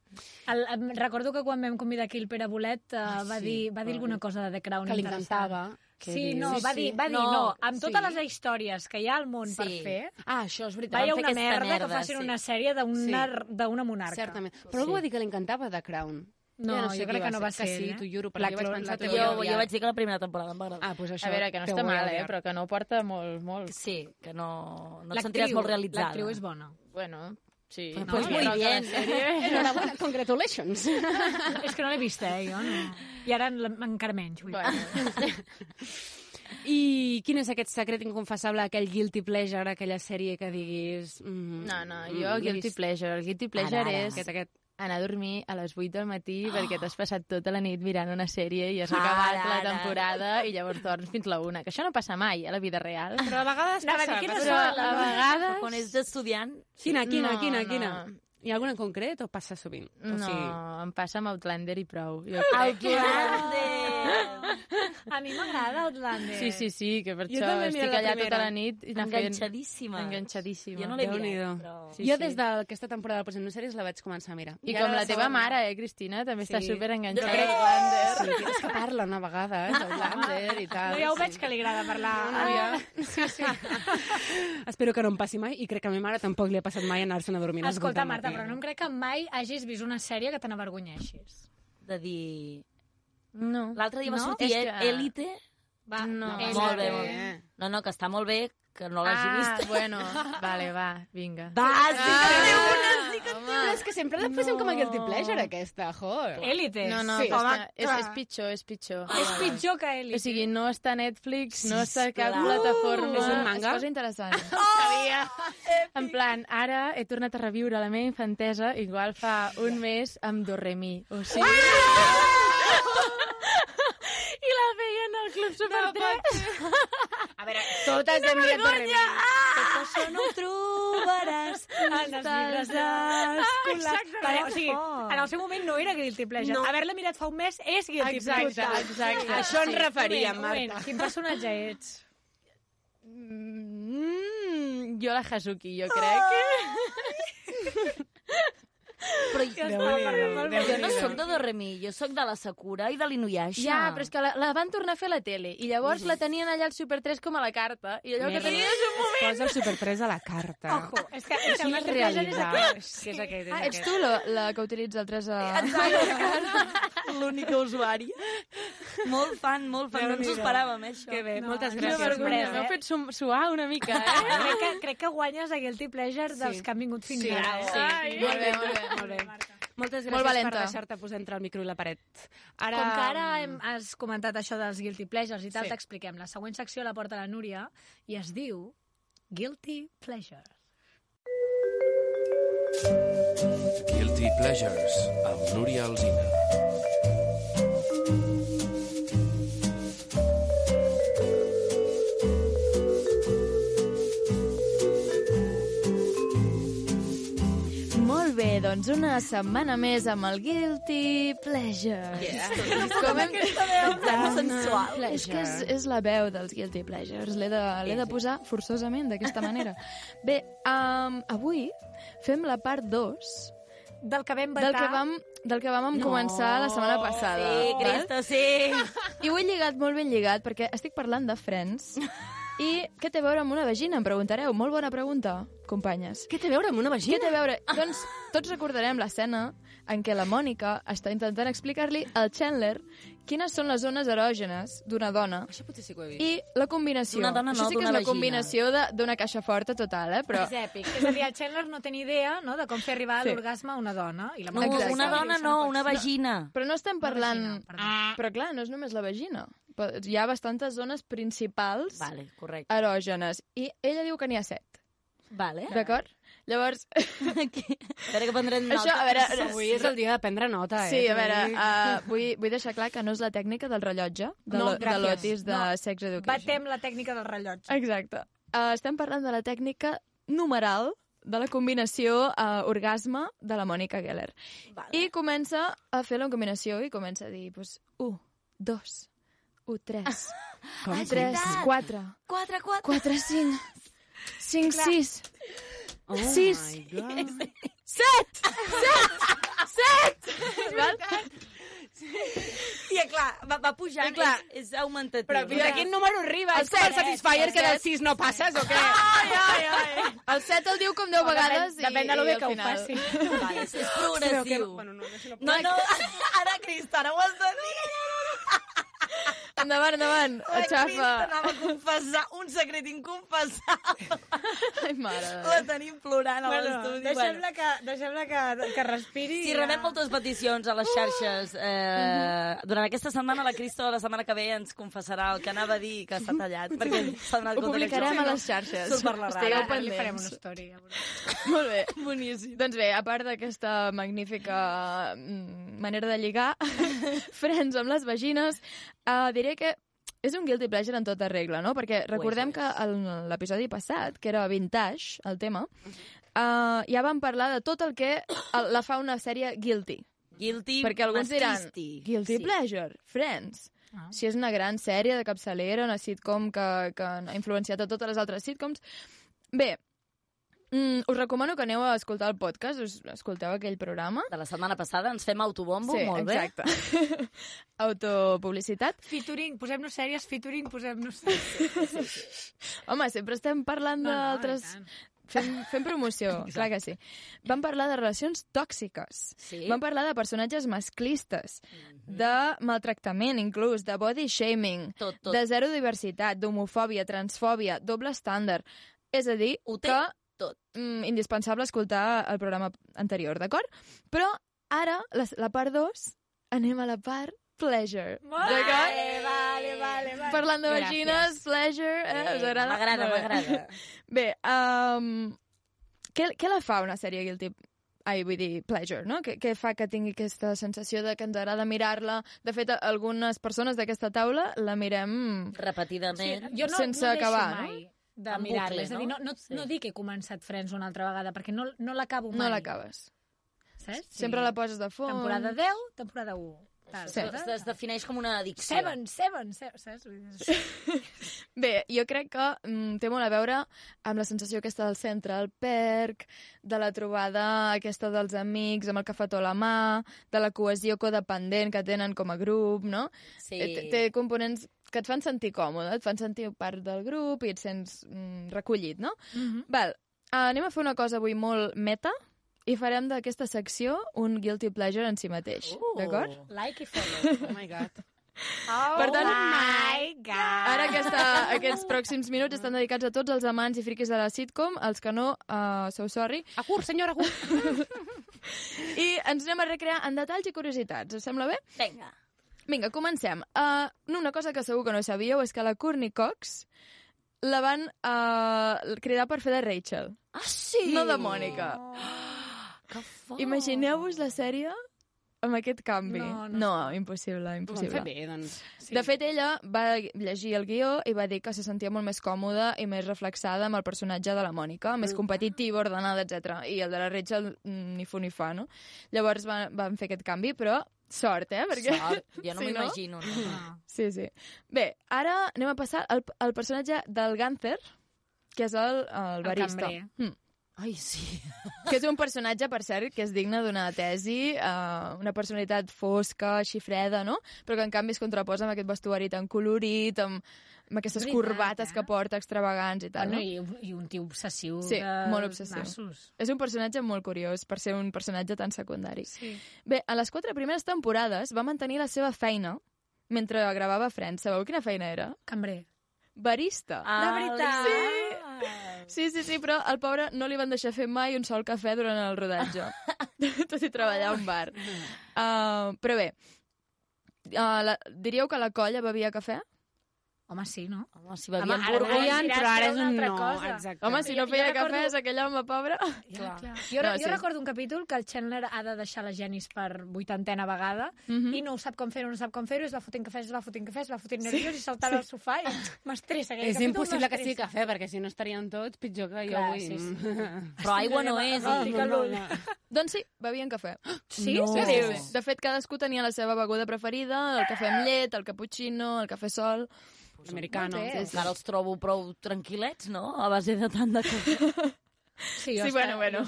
S7: El, em Ah, recordo que quan vam convidar aquí el Pere Bolet eh, va, dir, va dir alguna cosa de The Crown
S6: Que li
S7: interessant.
S6: encantava. què
S7: Sí,
S6: dius?
S7: no, va dir, va dir no, amb totes les històries que hi ha al món per
S6: Sí.
S7: fer...
S6: Ah, això és veritat.
S7: Vaya
S6: Van fer
S7: una
S6: aquesta
S7: merda,
S6: merda,
S7: que facin
S6: sí.
S7: una sèrie d'una d'una monarca.
S6: Certament. Però algú va dir que li encantava The Crown.
S7: No, jo crec que no va
S6: Que
S7: ser,
S6: sí,
S7: eh?
S6: t'ho juro,
S7: La
S6: perquè jo vaig
S7: Clo-
S6: pensar...
S7: la
S6: que
S7: Clo-
S6: ho
S8: Jo,
S6: odiava.
S8: jo vaig dir que la primera temporada em va agradar.
S6: Ah, doncs això,
S15: A veure, que no
S6: te
S15: està
S6: voy a
S15: mal, eh?
S6: odiar.
S15: Però que no porta molt, molt.
S8: Sí, que no, no et sentiràs molt realitzada.
S15: l'actriu és
S7: bona.
S15: Bueno, sí.
S8: Pues muy
S15: la
S8: bien.
S15: sèrie.
S6: Enhorabuena, congratulations.
S7: És que no l'he vista, eh, jo. No. I ara la- encara menys. Vull bueno.
S6: I quin és aquest secret inconfessable, aquell guilty pleasure, aquella sèrie que diguis... Mm,
S15: No, no,
S6: mm,
S15: jo
S6: l'he
S15: guilty
S6: vist.
S15: pleasure. El guilty pleasure
S6: Ara, ara.
S15: és
S6: Aquest, aquest.
S15: anar a dormir a les 8 del matí
S6: Oh.
S15: perquè t'has passat tota la nit mirant una sèrie i has
S6: Ara,
S15: acabat la
S6: ara.
S15: temporada i llavors dorms fins la una. Que això no passa mai eh, a la vida real.
S6: Però a vegades
S15: Anava a dir, quines Però són les- a vegades-
S8: Quan ets estudiant...
S6: Quina, quina,
S15: No,
S6: quina,
S15: no.
S6: quina? Hi ha alguna en concret o passa sovint? O
S15: No,
S6: sigui...
S15: em passa amb Outlander i prou. Jo crec que-
S7: Outlander! A mi m'agrada Outlander.
S15: Sí, sí, sí, que per
S6: Jo
S15: això
S6: també miro
S15: estic
S6: la
S15: allà tota
S6: primera.
S15: la nit. i anar fent-
S8: Enganxadíssima.
S15: Enganxadíssima.
S8: Jo no l'he
S6: Déu-n'hi-do.
S8: mirat, però...
S6: Sí, jo des d'aquesta temporada del Posem Sèries la vaig començar a mirar.
S15: I com
S6: ara
S15: la teva
S6: segona.
S15: mare, eh, Cristina, també està
S6: Sí.
S15: superenganxada.
S6: Jo crec-
S15: Outlander.
S6: Sí, és que parla una vegada, eh, d'Outlander i tal.
S7: No, ja ho veig que li agrada
S6: No,
S7: parlar.
S6: no, ja.
S7: Sí, sí.
S6: Espero que no em passi mai i crec que a mi mare tampoc li ha passat mai anar-se'n a dormir. no?
S7: Escolta,
S6: Escolta'm,
S7: Marta,
S6: Marta.
S7: però no em crec que mai hagis vist una sèrie que te n'avergonyeixis.
S8: De dir...
S15: No.
S8: L'altre dia va
S7: No?
S8: sortir E-
S7: És que-
S8: Elite.
S7: Va,
S15: no.
S8: No,
S15: Élite.
S8: molt bé, molt bé. No, no, que està molt bé, que no l'hagi
S15: Ah,
S8: vist.
S15: bueno, vale, va, vinga.
S8: Va, sí que en té una, sí que en té
S6: Però és que sempre la posem com a guilty pleasure, aquesta, jo.
S7: Élite.
S15: No, no,
S6: Sí,
S15: sí,
S6: home,
S15: està, és,
S6: clar. Ah,
S15: és pitjor, és pitjor.
S7: És pitjor que
S15: O
S7: Elite.
S15: sigui, no està a Netflix, no està a cap
S6: Sisplau.
S15: plataforma.
S6: Uh! És un manga?
S15: És cosa interessant. Oh! Sabia. En plan, ara he tornat a reviure la meva infantesa, igual fa un mes, amb Doremi.
S6: Ah!
S15: O sigui... I la veien al Club Super 3.
S10: A veure,
S15: Totes hem mirat Doremi.
S10: Tot
S7: això no ho trobaràs Ah! en els llibres eh? escolars.
S10: Exacte,
S7: Vale,
S10: no.
S7: o sigui,
S15: Oh.
S7: en el seu moment no era guilty pleasure.
S10: No.
S7: Haver-la mirat fa un mes és guilty
S15: Exacte,
S7: pleasure.
S15: exacte. Això ens
S7: Un moment,
S15: referíem,
S7: un moment.
S15: Marta.
S7: Quin personatge ets?
S15: Mm, jo la Hazuki,
S9: Ah,
S15: jo crec.
S8: Però jo, jo no
S15: Déu-n'hi-do.
S8: sóc de Doremi, jo sóc de la Sakura i de l'Inuyasha.
S15: Ja, però és que la, la van tornar a fer a la tele i llavors la tenien allà al Super 3 com a la carta i allò que
S6: Merda.
S15: tenies un
S6: Es
S15: moment...
S6: posa el Super 3 a la carta.
S7: Ojo, és que, és que
S6: Quina
S7: el guilty pleasure és
S6: realitat.
S7: aquest.
S6: Que és aquest, és
S9: Ah, ets
S6: aquest.
S9: tu la, la que utilitza altres... Uh...
S8: L'única usuària. Molt fan, molt fan. No ens ho esperàvem, eh, això.
S6: Que bé,
S8: no,
S6: moltes
S15: Quina
S6: gràcies.
S15: vergonya,
S6: Marta.
S15: m'heu fet som- suar una mica, eh?
S7: Crec que, crec que guanyes a guilty pleasure dels que han vingut fins
S6: Sí,
S7: ara. eh?
S6: sí.
S7: Ai.
S6: Molt bé,
S7: molt bé.
S6: molt bé. Moltes gràcies
S15: Molt valenta.
S6: per deixar-te posar entre el micro i la paret. Ara...
S7: Com que ara hem, has comentat això dels guilty pleasures i tal,
S6: Sí.
S7: t'expliquem. La següent secció la porta la Núria i es diu Guilty Pleasure.
S1: Guilty Pleasures, amb Núria Alzina.
S9: Molt bé, doncs una setmana més amb el Guilty Pleasure. Yeah. Com hem...
S8: Tan sensual.
S9: És que és, és la veu dels Guilty Pleasures. L'he de, l'he de posar forçosament d'aquesta manera. Bé, um, avui fem la part 2
S7: Del que vam vetar...
S9: del que vam, del que vam començar la setmana passada.
S8: Sí,
S9: val?
S8: Cristo, Eh, sí.
S9: I ho he lligat molt ben lligat, perquè estic parlant de Friends. I què té a veure amb una vagina, em preguntareu? Molt bona pregunta, companyes.
S6: Què té a veure amb una vagina?
S9: Què té a veure? Doncs tots recordarem l'escena en què la Mònica està intentant explicar-li al Chandler quines són les zones erògenes d'una dona
S6: Això potser sí que ho he vist.
S9: i la combinació.
S8: D'una dona no,
S9: Això sí que és
S8: d'una
S9: la
S8: vagina.
S9: combinació de- d'una caixa forta total, eh? Però...
S7: És èpic. És a dir, el Chandler no té ni idea no, de com fer arribar a
S9: Sí.
S7: l'orgasme a una dona. I la
S8: No,
S7: Mònica
S8: una
S7: Sala
S8: dona
S7: diu,
S8: no,
S7: "Això
S8: una
S7: pot ser".
S8: vagina.
S9: Però no estem parlant...
S7: perdó.
S9: però clar, no és només la vagina. Però Hi ha bastantes zones principals
S8: Vale, correcte.
S9: erògenes. I ella diu que n'hi ha set,
S8: Vale.
S9: d'acord? Llavors,
S8: A veure que prendrem nota.
S9: Això, a veure,
S8: Sí,
S6: Avui és el dia de prendre nota, eh?
S9: sí, a veure, uh, vull, vull deixar clar que no és la tècnica del rellotge, de,
S7: No,
S9: lo- de
S7: gràcies.
S9: l'Otis de
S7: No.
S9: Sex Education.
S7: Batem la tècnica del rellotge.
S9: Exacte. Uh, estem parlant de la tècnica numeral de la combinació uh, orgasme de la Mònica Geller.
S8: Vale.
S9: I comença a fer la combinació i comença a dir, doncs, 1, 2, 1, 3,
S16: Ah,
S6: Com?
S9: 3, 4,
S8: 4, 4.
S9: 4, 5, 5, 6,
S6: Oh my
S9: 6,
S6: God.
S9: 7, 7, 7!
S8: I clar, clar, va, va pujant,
S7: I clar,
S8: és, és augmentatiu.
S16: Però fins a quin número arribes? És com
S8: El
S16: el
S8: set,
S16: Satisfyer
S8: el
S16: que del 6
S8: set.
S16: no passes, o què?
S8: Ai, ai, ai.
S9: El 7 el diu com 10 vegades i...
S16: Eh. depèn de lo bé que ho faci.
S8: Vale, és, és progressiu.
S16: Però que no-
S8: bueno, no,
S16: no,
S8: no, no, ara, Crista, no ho has de dir.
S9: Endavant, endavant.
S8: Ai,
S9: Aixafa.
S8: Crista, anava a confessar un secret inconfessable.
S9: Ai, mare.
S8: La tenim plorant a
S7: Bueno,
S8: l'estudi.
S7: deixem-la que, deixem que, que respiri.
S8: Sí, rebem moltes peticions a
S9: Ah.
S8: les xarxes. Eh,
S9: Mhm.
S8: durant aquesta setmana, la Cristo, la setmana que ve, ens confessarà el que anava a dir i que està tallat, perquè s'ha donat
S9: Ho
S8: compte que
S9: publicarem
S8: això-
S9: a les xarxes.
S8: Surt per la
S9: Estigueu
S8: ràdio.
S9: pendents. Li farem una
S14: story.
S9: Molt bé. Boníssim. Doncs bé, a part d'aquesta magnífica mm, manera de lligar, frens amb les vagines, eh, diré que és un guilty pleasure en tota regla, no? Perquè recordem que en l'episodi passat, que era vintage, el tema, eh, ja vam parlar de tot el que el- la fa una sèrie guilty.
S8: Guilty
S9: Perquè alguns diran,
S8: mastisti.
S9: guilty
S8: Sí. Ah.
S9: pleasure, Friends. Si és una gran sèrie de capçalera, una sitcom que, que ha influenciat a totes les altres sitcoms. Bé, Mm, us recomano que aneu a escoltar el podcast, us escolteu aquell programa.
S8: De la setmana passada ens fem autobombo,
S9: sí,
S8: molt bé.
S9: exacte. Autopublicitat.
S7: Featuring, posem-nos sèries, featuring, posem-nos sèries.
S9: Home, sempre estem parlant
S7: No, no, i
S9: d'altres... Fem, fem promoció, clar que sí. Vam parlar de relacions tòxiques,
S8: sí. Mhm.
S9: vam parlar de personatges masclistes, de maltractament inclús, de body shaming,
S8: Tot, tot.
S9: de zero diversitat, d'homofòbia, transfòbia, doble estàndard. És a dir, Ho que
S8: tot.
S9: Mm, indispensable escoltar el programa anterior, d'acord? Però ara, la, la part 2, anem a la part pleasure. D'acord?
S7: Vale, vale, vale, vale.
S9: Parlant de vagines, pleasure, eh? Us agrada?
S8: m'agrada,
S9: Molt bé.
S8: m'agrada.
S9: Bé, um, què, què la fa una sèrie guilty Ai, vull dir, pleasure, no? Què, què fa que tingui aquesta sensació de que ens agrada mirar-la? De fet, algunes persones d'aquesta taula la mirem...
S8: Repetidament.
S7: Jo no,
S9: sense
S7: no deixo
S9: acabar,
S7: mai
S9: no?
S7: de
S9: En
S7: mirar-la.
S9: bucle,
S7: És a dir, no,
S9: no?
S7: no, sí. no dic que he començat Friends una altra vegada, perquè no, no l'acabo mai.
S9: No l'acabes.
S7: Saps?
S9: Sempre la poses de fons.
S7: Eh? Temporada 10, temporada 1. Tal,
S9: Sí.
S7: tal, tal.
S8: Es defineix com una addicció.
S7: Seven, seven, seven, saps? Vull dir,
S9: Bé, jo crec que mm, té molt a veure amb la sensació aquesta del centre, el perc, de la trobada aquesta dels amics amb el cafetó a la mà, de la cohesió codependent que tenen com a grup, no?
S8: Sí.
S9: Eh, Té, té components que et fan sentir còmode, et fan sentir part del grup i et sents mm, recollit, no?
S10: Mhm.
S9: Val, anem a fer una cosa avui molt meta i farem d'aquesta secció un guilty pleasure en si mateix,
S8: Oh.
S9: d'acord?
S8: Uh.
S7: Like i follow.
S6: Oh my god.
S7: Oh
S9: Per tant,
S7: my god.
S9: Ara
S8: Ah.
S9: aquesta, aquests pròxims minuts estan dedicats a tots els amants i friquis de la sitcom, els que no, uh, sou sorry.
S6: A curt, senyora, a curt.
S9: I ens anem a recrear en detalls i curiositats, us sembla bé?
S8: Vinga.
S9: Vinga, comencem. Uh, no, una cosa que segur que no sabíeu és que la Courtney Cox la van uh, cridar per fer de Rachel.
S8: Ah, sí?
S9: No de Mònica. Oh, Imagineu-vos la sèrie amb aquest canvi.
S6: No,
S9: no, no impossible,
S6: Ho
S9: impossible.
S6: vam fer bé, doncs.
S9: Sí. De fet, ella va llegir el guió i va dir que se sentia molt més còmoda i més reflexada amb el personatge de la Mònica, més competitiva, ordenada, etc. I el de la Rachel mm, ni fu ni fa, no? Llavors van, van fer aquest canvi, però sort, eh? Perquè...
S8: Sort. Jo no m'imagino, no, no.
S9: Sí, sí. Bé, ara anem a passar al, al personatge del Gunther, que és el, el barista.
S8: cambrer.
S9: Mm.
S8: Ai, sí.
S9: Que és un personatge, per cert, que és digne d'una tesi, eh, una personalitat fosca, així freda, no? Però que en canvi es contraposa amb aquest vestuari tan colorit, amb, amb aquestes
S7: És veritat,
S9: veritat, corbates eh? que porta extravagants i tal,
S7: Bueno,
S9: no?
S7: i, un- i un tio obsessiu
S9: Sí,
S7: de
S9: molt obsessiu.
S7: nassos.
S9: És un personatge molt curiós per ser un personatge tan secundari. Sí. Bé, a les quatre primeres temporades va mantenir la seva feina mentre gravava Friends. Sabeu quina feina era?
S7: Cambrer.
S9: Barista.
S7: Ah, De veritat?
S9: Sí. sí, sí, sí, però al pobre no li van deixar fer mai un sol cafè durant el rodatge. Tot i treballar a un bar. Uh, però bé, uh, la, diríeu que la colla bevia cafè?
S7: Home, sí, no?
S8: Home, si
S7: bevien Burgundian, però ara és un no, exacte.
S9: Home, si no
S7: Jo- jo
S9: feia
S7: recordo-
S9: cafè és aquell home pobre.
S7: Clar. Jo,
S9: No,
S7: no, jo
S9: sí.
S7: recordo un capítol que el Chandler ha de deixar la Janis per vuitantena vegada
S9: Mhm.
S7: i no ho sap com fer-ho, no sap com fer-ho, es va fotent cafè, es va fotent cafè, es va fotent nerviós i saltava al sofà i m'estressa. aquell
S6: És
S7: capítol
S6: impossible que sigui
S7: m'estressa.
S6: cafè, perquè si no estarien tots pitjor que jo
S7: Clar,
S6: avui.
S7: sí, sí.
S8: Però aigua no és, eh? i-
S6: No, no, no.
S9: Doncs sí, bevien cafè.
S6: Sí?
S9: No.
S6: Sí,
S9: sí,
S6: sí.
S9: sí. De fet, cadascú tenia la seva beguda preferida, el cafè amb llet, el cappuccino, el cafè sol...
S8: Americano.
S9: Sí, sí.
S8: Encara els trobo prou tranquil·lets, no? A base de tant de cafè.
S9: Sí, bueno, bueno.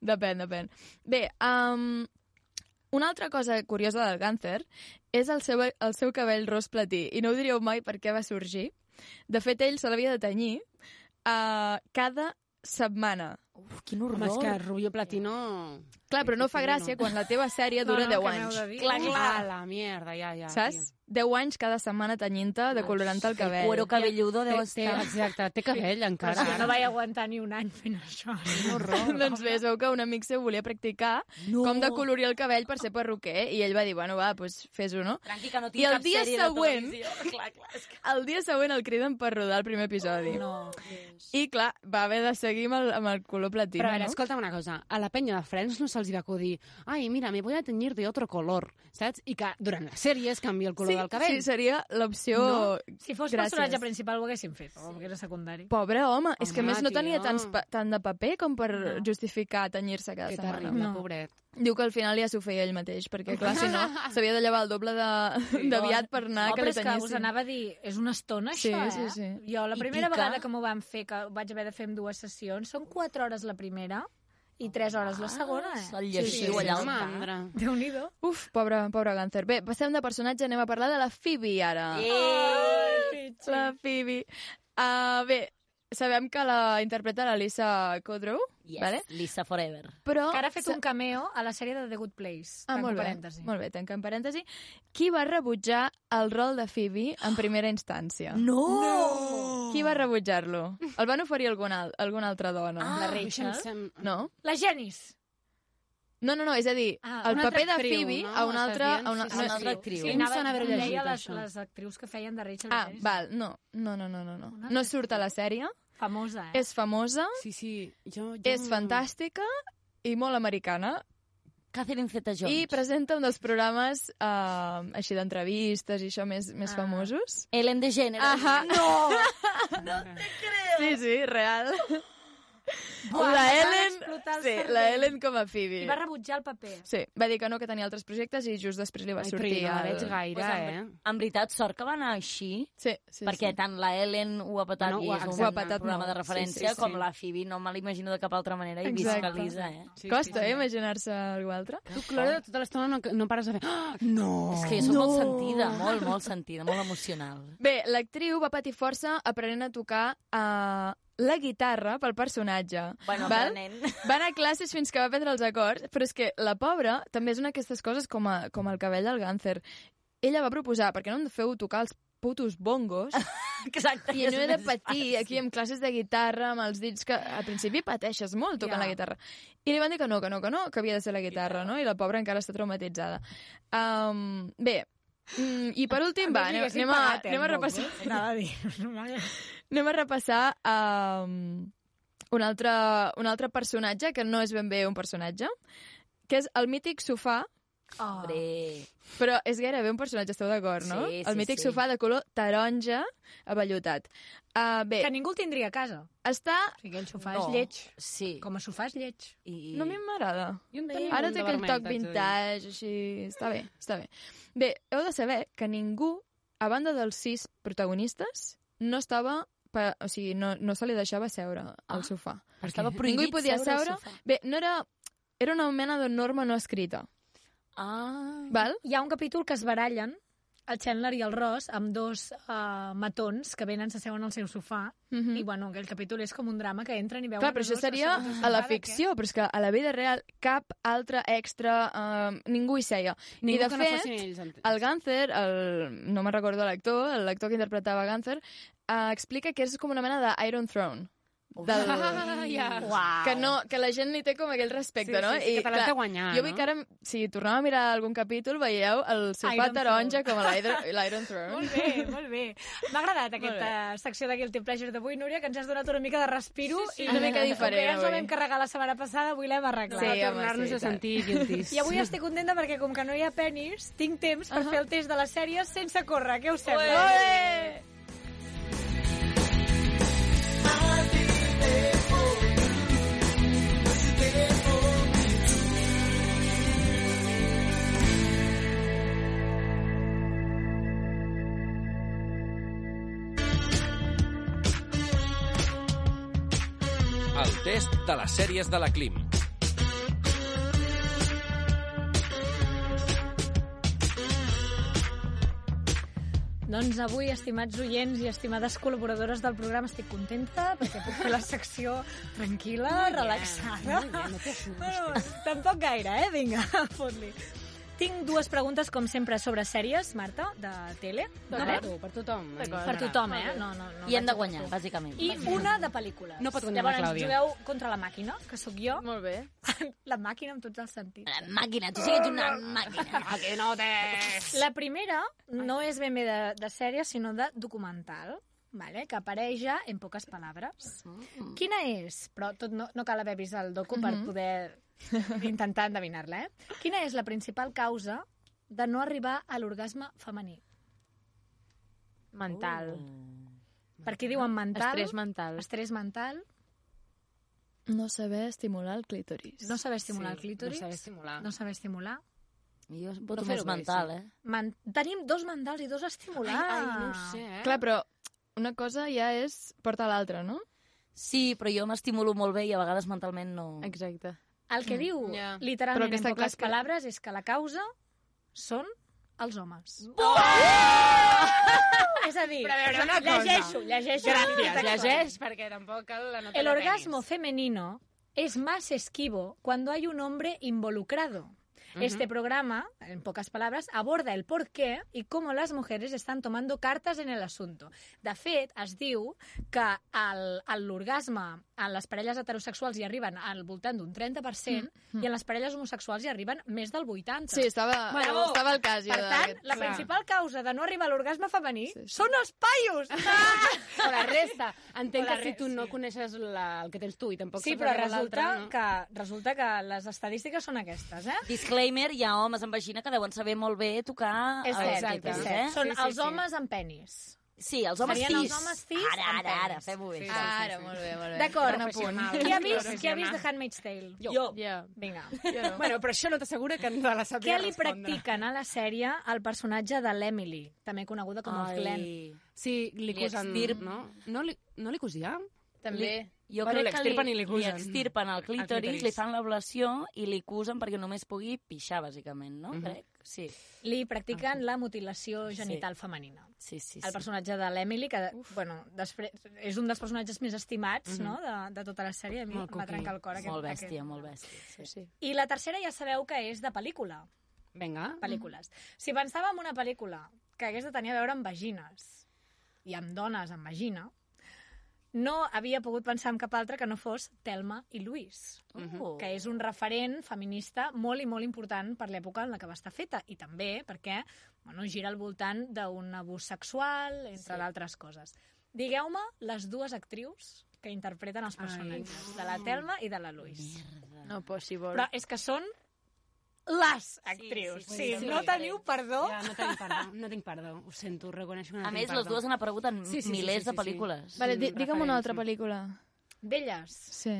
S9: Depèn, depèn. Bé, um, Una altra cosa curiosa del Gunther és el seu, el seu cabell ros platí, i no ho diríeu mai per què va sorgir. De fet, ell se l'havia de tenyir uh, cada setmana.
S8: Uf, quin
S6: Home, és que Rubio Platino...
S9: Clar, però no fa gràcia quan la teva sèrie dura 10 anys.
S6: Clar, clar. Ah, la mierda, ja, ja.
S9: Saps? 10 anys cada setmana tenyint-te, decolorant el cabell.
S8: cuero cabelludo deu
S6: Té- té-
S8: estar.
S6: Exacte, té cabell encara.
S7: Però és que no vaig aguantar ni un any fent això.
S9: doncs bé, es veu que un amic seu volia practicar no. com decolorir el cabell per ser perruquer i ell va dir, bueno, va, doncs fes-ho, no?
S8: Tranqui, que no
S9: I
S8: tinc
S9: el
S8: cap
S9: dia
S8: sèrie
S9: següent,
S8: de televisió. Clar, clar, és que...
S9: el dia següent el criden per rodar el primer episodi.
S8: No.
S9: I clar, va haver de seguir amb el, amb el color platí.
S6: Però a veure,
S9: no?
S6: escolta'm una cosa, a la penya de Friends no se'ls hi va acudir ai, mira, me voy a teñir de otro color, saps? I que durant les sèries canvia el color
S9: Sí,
S6: del cabell.
S9: sí, seria l'opció...
S7: No? Si fos
S9: Gràcies.
S7: personatge principal ho haguéssim fet, o que era secundari.
S9: Pobre home, és que a
S7: Home,
S9: més no tenia
S7: tio.
S9: tants pa tant de paper com per no. justificar tenyir-se cada
S6: Que
S9: setmana.
S6: terrible, no. pobret.
S9: Diu que al final ja s'ho feia ell mateix, perquè clar, si no, s'havia de llevar el doble de, d'aviat per anar
S7: no,
S9: que
S7: però
S9: li
S7: és que us
S9: tenyessin.
S7: anava a dir, és una estona
S9: Sí,
S7: això,
S9: sí,
S7: eh?
S9: sí.
S7: Jo la
S9: I
S7: primera
S9: pica.
S7: vegada que m'ho van fer, que ho vaig haver de fer en dues sessions, són 4 hores la primera i
S9: Ah,
S7: 3 hores la segona, eh?
S8: el lleixiu allà al cap.
S7: Déu-n'hi-do.
S9: Uf, pobre, pobre Gunther. Bé, passem de personatge, anem a parlar de la Phoebe ara.
S8: Eh!
S9: La Phoebe. Uh, bé, sabem que la interpreta la Lisa Kudrow,
S8: Yes,
S9: vale?
S8: Lisa Forever.
S9: però...
S7: Que ara ha fet
S9: sa-
S7: un cameo a la sèrie de The Good Place.
S9: Ah,
S7: Tanco
S9: molt bé,
S7: parèntesi.
S9: molt bé, tanquem parèntesi. Qui va rebutjar el rol de Phoebe en primera instància?
S8: No!
S9: Qui va rebutjar-lo? El van oferir alguna, al- alguna altra dona?
S7: Ah,
S6: La Rachel? això em sem-
S9: No?
S7: La Janis.
S9: No, no, no, és a dir,
S7: Ah,
S9: el
S7: una
S9: paper
S7: altra
S9: de
S7: actriu,
S9: Phoebe
S7: no?
S9: a una
S7: Estàs
S9: altra...
S7: dient?
S9: A una,
S7: Sí, sí, sí. Sí,
S6: Em
S7: anava-
S6: sona haver-ho
S7: deia
S6: llegit,
S7: les,
S6: això.
S7: les actrius que feien de Rachel
S9: Ah,
S7: Janis.
S9: val, no, no, no, no, no. No, no surt a la sèrie,
S6: Ah.
S7: Famosa, eh?
S9: és famosa,
S6: Sí, sí, jo... jo...
S9: és fantàstica i molt americana,
S8: Catherine Zeta-Jones.
S9: I presenta un dels programes eh, així d'entrevistes i això més, més ah. famosos.
S8: Ellen DeGeneres.
S9: Ahà.
S8: No te creo.
S9: Sí, sí, real.
S7: Buah,
S9: la
S7: van
S9: Ellen,
S7: explotar el
S9: sí,
S7: cervell.
S9: la Ellen com a Phoebe.
S7: I va rebutjar el paper.
S9: Sí, va dir que no, que tenia altres projectes i just després li va
S6: Ai, però
S9: sortir
S6: jo no la
S9: el...
S6: veig gaire, eh?
S8: en, en veritat, sort que va anar així,
S9: Sí, sí,
S8: perquè
S9: sí.
S8: tant la Ellen ho ha patat
S6: No,
S8: i
S6: ho ha-
S8: és un,
S6: ho ha patat
S8: programa
S9: molt.
S8: de referència,
S9: Sí, sí, sí.
S8: com la Phoebe, no me l'imagino de cap altra manera, i visca
S9: Exacte.
S8: Lisa, eh?
S9: Sí, Costa, sí, sí. eh, imaginar-se algú altre.
S6: Tu, Clora, tota l'estona no, no pares de fer... "Ah, No!
S8: És que jo soc
S9: Oh. No.
S8: molt sentida, molt, molt sentida, molt emocional.
S9: Bé, l'actriu va patir força aprenent a tocar eh, la guitarra pel personatge.
S8: Bueno,
S9: val?
S8: aprenent.
S9: Va anar a classes fins que va prendre els acords, però és que la pobra també és una d'aquestes coses com, a, com el cabell del Gàncer. Ella va proposar, perquè no em feu tocar els putos bongos,
S8: Exacte.
S9: i no he de patir aquí amb classes de guitarra, amb els dits que al principi pateixes molt tocant
S7: Ja.
S9: la guitarra. I li van dir que no, que no, que no, que havia de ser la guitarra, no? I la pobra encara està traumatitzada. Um, bé, mm, i per últim, va, anem, anem, a, anem a repassar...
S7: Anava a dir...
S9: Anem a repassar um, un, altre, un altre personatge, que no és ben bé un personatge, que és el mític sofà,
S7: Oh.
S8: Hombre.
S9: però és gairebé un personatge, esteu d'acord, no?
S8: Sí, sí,
S9: el mític
S8: sí.
S9: sofà de color taronja avellutat. Uh, bé,
S7: Que ningú el tindria a casa.
S9: està...
S7: O sigui, el sofà és lleig.
S8: Sí.
S7: Com a sofà és lleig.
S8: I...
S9: No, a mi m'agrada.
S6: Jo en tenia
S9: Ara
S6: un
S9: té
S6: de
S9: aquell
S6: vermell,
S9: toc
S6: t'haig de dir.
S9: vintage, així... Està bé, està bé. Bé, heu de saber que ningú, a banda dels sis protagonistes, no estava... Per, o sigui, no, no se li deixava seure al sofà.
S6: Per
S8: Estava
S6: què?
S8: prohibit
S9: Ningú hi podia
S8: seure
S9: seure.
S8: al sofà.
S9: Bé, no era... Era una mena de norma no escrita,
S8: Ah.
S9: val?
S7: Hi ha un capítol que es barallen el Chandler i el Ross amb dos uh, matons que venen, s'asseuen al seu sofà
S9: Mhm.
S7: i, bueno, aquell capítol és com un drama que entren i veuen...
S9: Clar, però
S7: els
S9: això
S7: dos
S9: seria
S7: asseguts
S9: a la
S7: sofà de
S9: ficció, però és que a la vida real cap altre extra, eh, ningú hi seia.
S6: Ningú
S9: I de
S6: que no
S9: fet,
S6: fossin ells, entens.
S9: el Gàncer, el, no me'n recordo l'actor, l'actor que interpretava Gàncer, eh, explica que és com una mena d'Iron Throne. Del,
S6: ja.
S9: que, no, que la gent li té com aquell respecte,
S6: Sí,
S9: no?
S6: sí, sí, que te l'has de guanyar,
S9: Jo vull
S6: no?
S9: que ara, si tornem a mirar algun capítul, veieu el sofà
S7: Iron
S9: taronja
S7: Throne.
S9: com a l'Iron l'Iron
S7: què?
S9: Throne.
S7: Molt bé, molt bé. M'ha agradat
S9: bé.
S7: aquesta secció de Guilty Pleasure d'avui, Núria, que ens has donat una mica de respiro.
S9: Sí, sí,
S7: i
S9: una mica diferent,
S7: Com que ja ens la
S9: avui.
S7: vam carregar la setmana passada, avui l'hem arreglat.
S9: Sí, home,
S6: Tornar-nos
S9: sí,
S6: a
S9: i tant.
S6: sentir guiltis.
S7: I avui estic contenta perquè, com que no hi ha penis, tinc temps per fer el test de la sèrie sense córrer. Què us sembla? Ué!
S1: El test de les sèries de la Clim.
S7: Doncs avui, estimats oients i estimades col·laboradores del programa, estic contenta perquè puc fer la secció tranquil·la,
S8: Molt bé,
S7: relaxada.
S8: molt bé, no t'assustis.
S7: bueno, tampoc gaire, eh? Vinga, fot-li. Tinc dues preguntes, com sempre, sobre sèries, Marta, de tele.
S6: No, per tu, per tothom.
S7: Per tothom, eh? No, no, no.
S8: Doncs I hem de guanyar, bàsicament.
S7: I una de pel·lícules.
S8: No pot guanyar la
S7: Llavors,
S8: Clàudia.
S7: jugueu contra la màquina, que sóc jo.
S15: Molt bé.
S7: La màquina en tots els sentits.
S8: La màquina, tu sí que ets una màquina. Maquinotes!
S7: La primera no és ben bé de, de sèrie, sinó de documental, vale? que apareix ja en poques paraules. Quina és? Però tot no, no cal haver vist el docu per
S9: Mm. Mhm.
S7: poder intentar endevinar-la. Eh? Quina és la principal causa de no arribar a l'orgasme femení?
S6: uh,
S15: Mental.
S7: Per què diuen mental?
S15: Estrès mental.
S7: Estrès mental.
S9: No saber estimular el clítoris.
S7: No saber estimular
S9: Sí,
S7: el clítoris.
S9: no saber estimular.
S7: No saber estimular.
S8: Jo
S9: voto No fer-ho més bé, mental, sí. eh?
S7: Man... Tenim dos mentals i dos a estimular.
S9: Ai, ai, no ho sé, eh? Clar, però una cosa ja és portar l'altra, no?
S8: Sí, però jo m'estimulo molt bé i a vegades mentalment no...
S15: Exacte.
S7: El que
S8: Mm.
S7: diu,
S8: Ja. Però el
S7: literalment,
S8: que
S7: en
S8: està clar
S7: poques
S8: és que-
S7: paraules, és que la causa són els homes. És a dir,
S15: Però a veure, una cosa.
S7: llegeixo, llegeixo.
S15: Gràcies,
S7: Textual.
S15: llegeix, perquè tampoc cal la nota
S7: El orgasmo femenino es más esquivo cuando hay un hombre involucrado.
S15: Ujú.
S7: Este programa, en pocas palabras, aborda el por qué y cómo las mujeres están tomando cartas en el asunto. De fet, es diu que el- el- l'orgasme en les parelles heterosexuals hi arriben al voltant d'un 30% i en les parelles homosexuals hi arriben més del 80%.
S9: Sí, estava- estava al cas jo
S7: Per tant,
S9: d'aquest-
S7: la
S9: Clar.
S7: principal causa de no arribar a l'orgasme femení són els paios!
S6: O la resta. Entenc
S7: O la
S6: que si tu no coneixes la, el que tens tu i tampoc
S7: Sí,
S6: saps
S7: però
S6: el de l'altre,
S7: resulta,
S6: no?
S7: que, resulta que les estadístiques són aquestes, eh?
S8: Disclaimer, hi ha homes amb vagina que deuen saber molt bé tocar...
S7: És
S8: els
S7: cert,
S8: clítoris,
S7: és cert.
S8: Eh?
S7: Són Sí, sí, els sí. homes amb penis.
S8: Sí, els homes
S7: Serien els
S8: cis.
S7: homes cis
S8: Ara,
S7: amb
S8: ara, ara,
S7: penis.
S8: fem-ho bé.
S7: Sí,
S8: Sí,
S7: sí,
S8: sí,
S7: sí,
S8: sí,
S7: sí.
S8: molt bé, molt bé.
S7: D'acord.
S8: Professional.
S7: Qui ha vist, qui ha
S8: Ah, Professional.
S7: vist The Handmaid's Tale?
S6: Jo.
S15: Yeah.
S7: Vinga.
S6: Bueno, però això no t'assegura que no la sabia
S7: Què li practiquen a la sèrie al personatge de l'Emily, també coneguda com el
S6: Ai.
S7: Glenn?
S6: Sí, li cosen...
S8: extirp-
S6: No? No li, no li cosia?
S8: Li- Jo
S6: Bueno,
S8: crec que
S6: l'extirpen
S8: li,
S6: i li
S8: li
S6: cosen.
S8: extirpen el clítoris,
S6: clítoris.
S8: li fan l'ablació i li cusen perquè només pugui pixar, bàsicament, no?
S7: Mhm.
S8: Crec, sí.
S7: Li practiquen la mutilació genital
S8: Ah. Sí.
S7: femenina.
S8: Sí, sí,
S7: El
S8: sí.
S7: personatge de l'Emily, que bueno, després, és un dels personatges més estimats
S8: Mhm.
S7: no? de, de tota la sèrie. A mi
S8: Molt
S7: em va
S8: cuqui.
S7: trencar el cor. Aquest,
S8: Molt
S7: aquest
S8: bèstia, molt bèstia. Sí. sí.
S7: I la tercera ja sabeu que és de pel·lícula.
S6: Vinga.
S7: Pel·lícules. Si pensava en una pel·lícula que hagués de tenir a veure amb vagines i amb dones amb vagina, no havia pogut pensar en cap altra que no fos Telma i Luis,
S8: Mhm.
S7: que és un referent feminista molt i molt important per l'època en la que va estar feta, i també perquè bueno, gira al voltant d'un abús sexual, entre
S8: Sí.
S7: d'altres coses. Digueu-me les dues actrius que interpreten els personatges, de la Telma i de la Luis.
S15: No possible.
S7: Però és que són les actrius. Sí, no teniu perdó.
S6: Ja, no tinc perdó, no tinc perdó. Ho sento, reconeixo que no
S8: A
S6: tinc
S8: més,
S6: perdó.
S8: les dues han aparegut en milers de pel·lícules.
S9: Vale,
S6: Mm,
S9: di digue'm
S6: referents,
S9: una altra
S6: sí.
S9: pel·lícula.
S7: D'elles.
S9: Sí.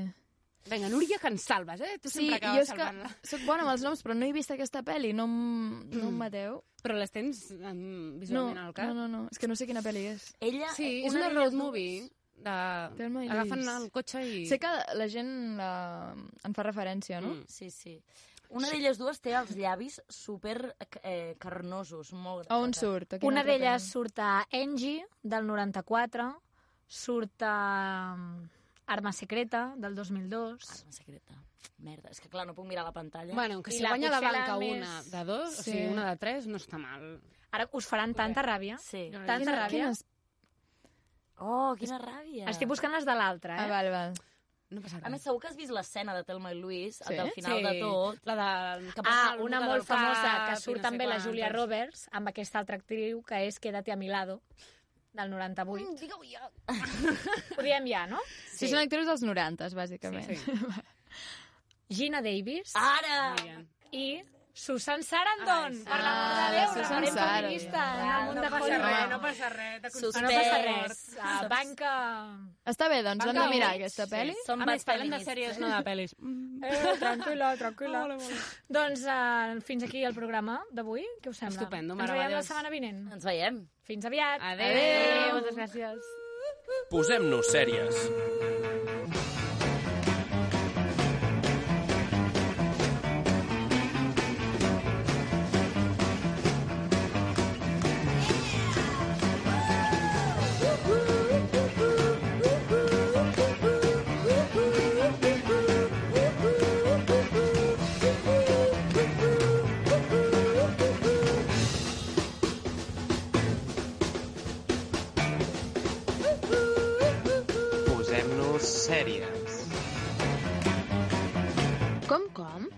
S6: Vinga, Núria, que ens salves, eh? Tu
S9: Sí, jo
S6: sempre acabes
S9: és que
S6: salvant-la.
S9: sóc bona amb els noms, però no he vist aquesta pel·li, no, em- no em mateu.
S6: Però les tens um, visualment
S9: no,
S6: al cap?
S9: No, no, no, és que no sé quina pel·li és.
S8: Ella,
S6: Sí, és una road movie. De...
S9: Telma i
S6: Agafen
S9: Luis.
S6: el cotxe i...
S9: Sé que la gent la... en fa referència, no?
S6: Mm.
S8: Sí, sí. Una d'elles dues té els llavis super eh, carnosos. Molt
S9: A on surt? A quina
S7: Una
S9: altra
S7: d'elles
S9: pel·li?
S7: surt a Angie, del 94, surt a mm, Arma Secreta, del 2002.
S8: Arma Secreta. Merda, és que clar, no puc mirar la pantalla.
S6: Bueno, que
S7: I
S6: si
S7: la
S6: guanya la
S7: potser la
S6: banca
S7: més-
S6: una de dos, o
S7: Sí.
S6: sigui, una de tres, no està mal.
S7: Ara us faran tanta ràbia.
S8: Sí.
S7: Tanta
S9: Quina-
S7: ràbia.
S9: quines-
S8: Oh, quina ràbia.
S7: Estic buscant les de l'altra, eh?
S9: Ah, val, val.
S6: No passa
S8: A
S6: res.
S8: més, segur que has vist l'escena de Telma i Luis, sí? del final
S6: Sí.
S8: de tot.
S6: La de... que passa
S7: Ah,
S6: el
S7: una
S6: Luca
S7: molt
S6: del cap
S7: famosa, que
S6: i
S7: surt
S6: no sé
S7: també la Julia
S6: quantes.
S7: Roberts, amb aquesta altra actriu, que és Quédate a mi lado, del 98. Mm,
S8: Digue-ho ja.
S7: Ho diem ja, no?
S9: Sí, són actrius dels 90, bàsicament.
S7: Sí, Gina Davis.
S8: Ah. Ara!
S7: I Susan Sarandon, per l'amor de
S9: Ah, la
S7: Déu,
S9: Susan
S7: referent
S9: Sarandon.
S7: feminista.
S9: Ah,
S7: el món
S9: no
S7: de
S9: passa
S7: Hollywood.
S9: res, no
S15: passa res, t'ha
S7: Ah, No passa res. Ah, banca...
S9: Està bé, doncs, l'hem de mirar,
S7: Banca
S9: aquesta
S7: Units.
S9: pel·li.
S7: Som
S6: A més,
S7: bastant
S6: parlem de
S7: feministes.
S6: sèries, no de pel·lis.
S7: Eh, tranquil·la, tranquil·la. Doncs eh, fins aquí el programa d'avui. Què us sembla?
S6: Estupendo,
S7: Ens veiem la
S6: meravellós.
S7: setmana vinent.
S8: Ens veiem.
S7: Fins aviat.
S6: Adéu.
S15: Adéu, moltes gràcies.
S1: Posem-nos sèries.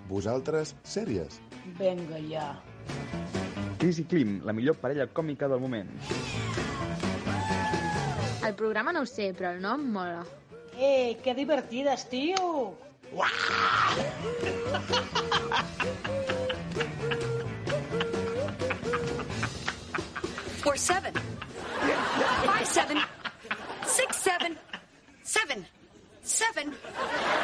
S3: Vosaltres, sèries.
S11: Venga ja.
S5: Cris i Klim, la millor parella còmica del moment.
S17: El programa no ho sé, però el nom mola.
S11: Eh, qué divertidas, tío.
S6: Four seven. Five seven. Six seven. Seven. Seven.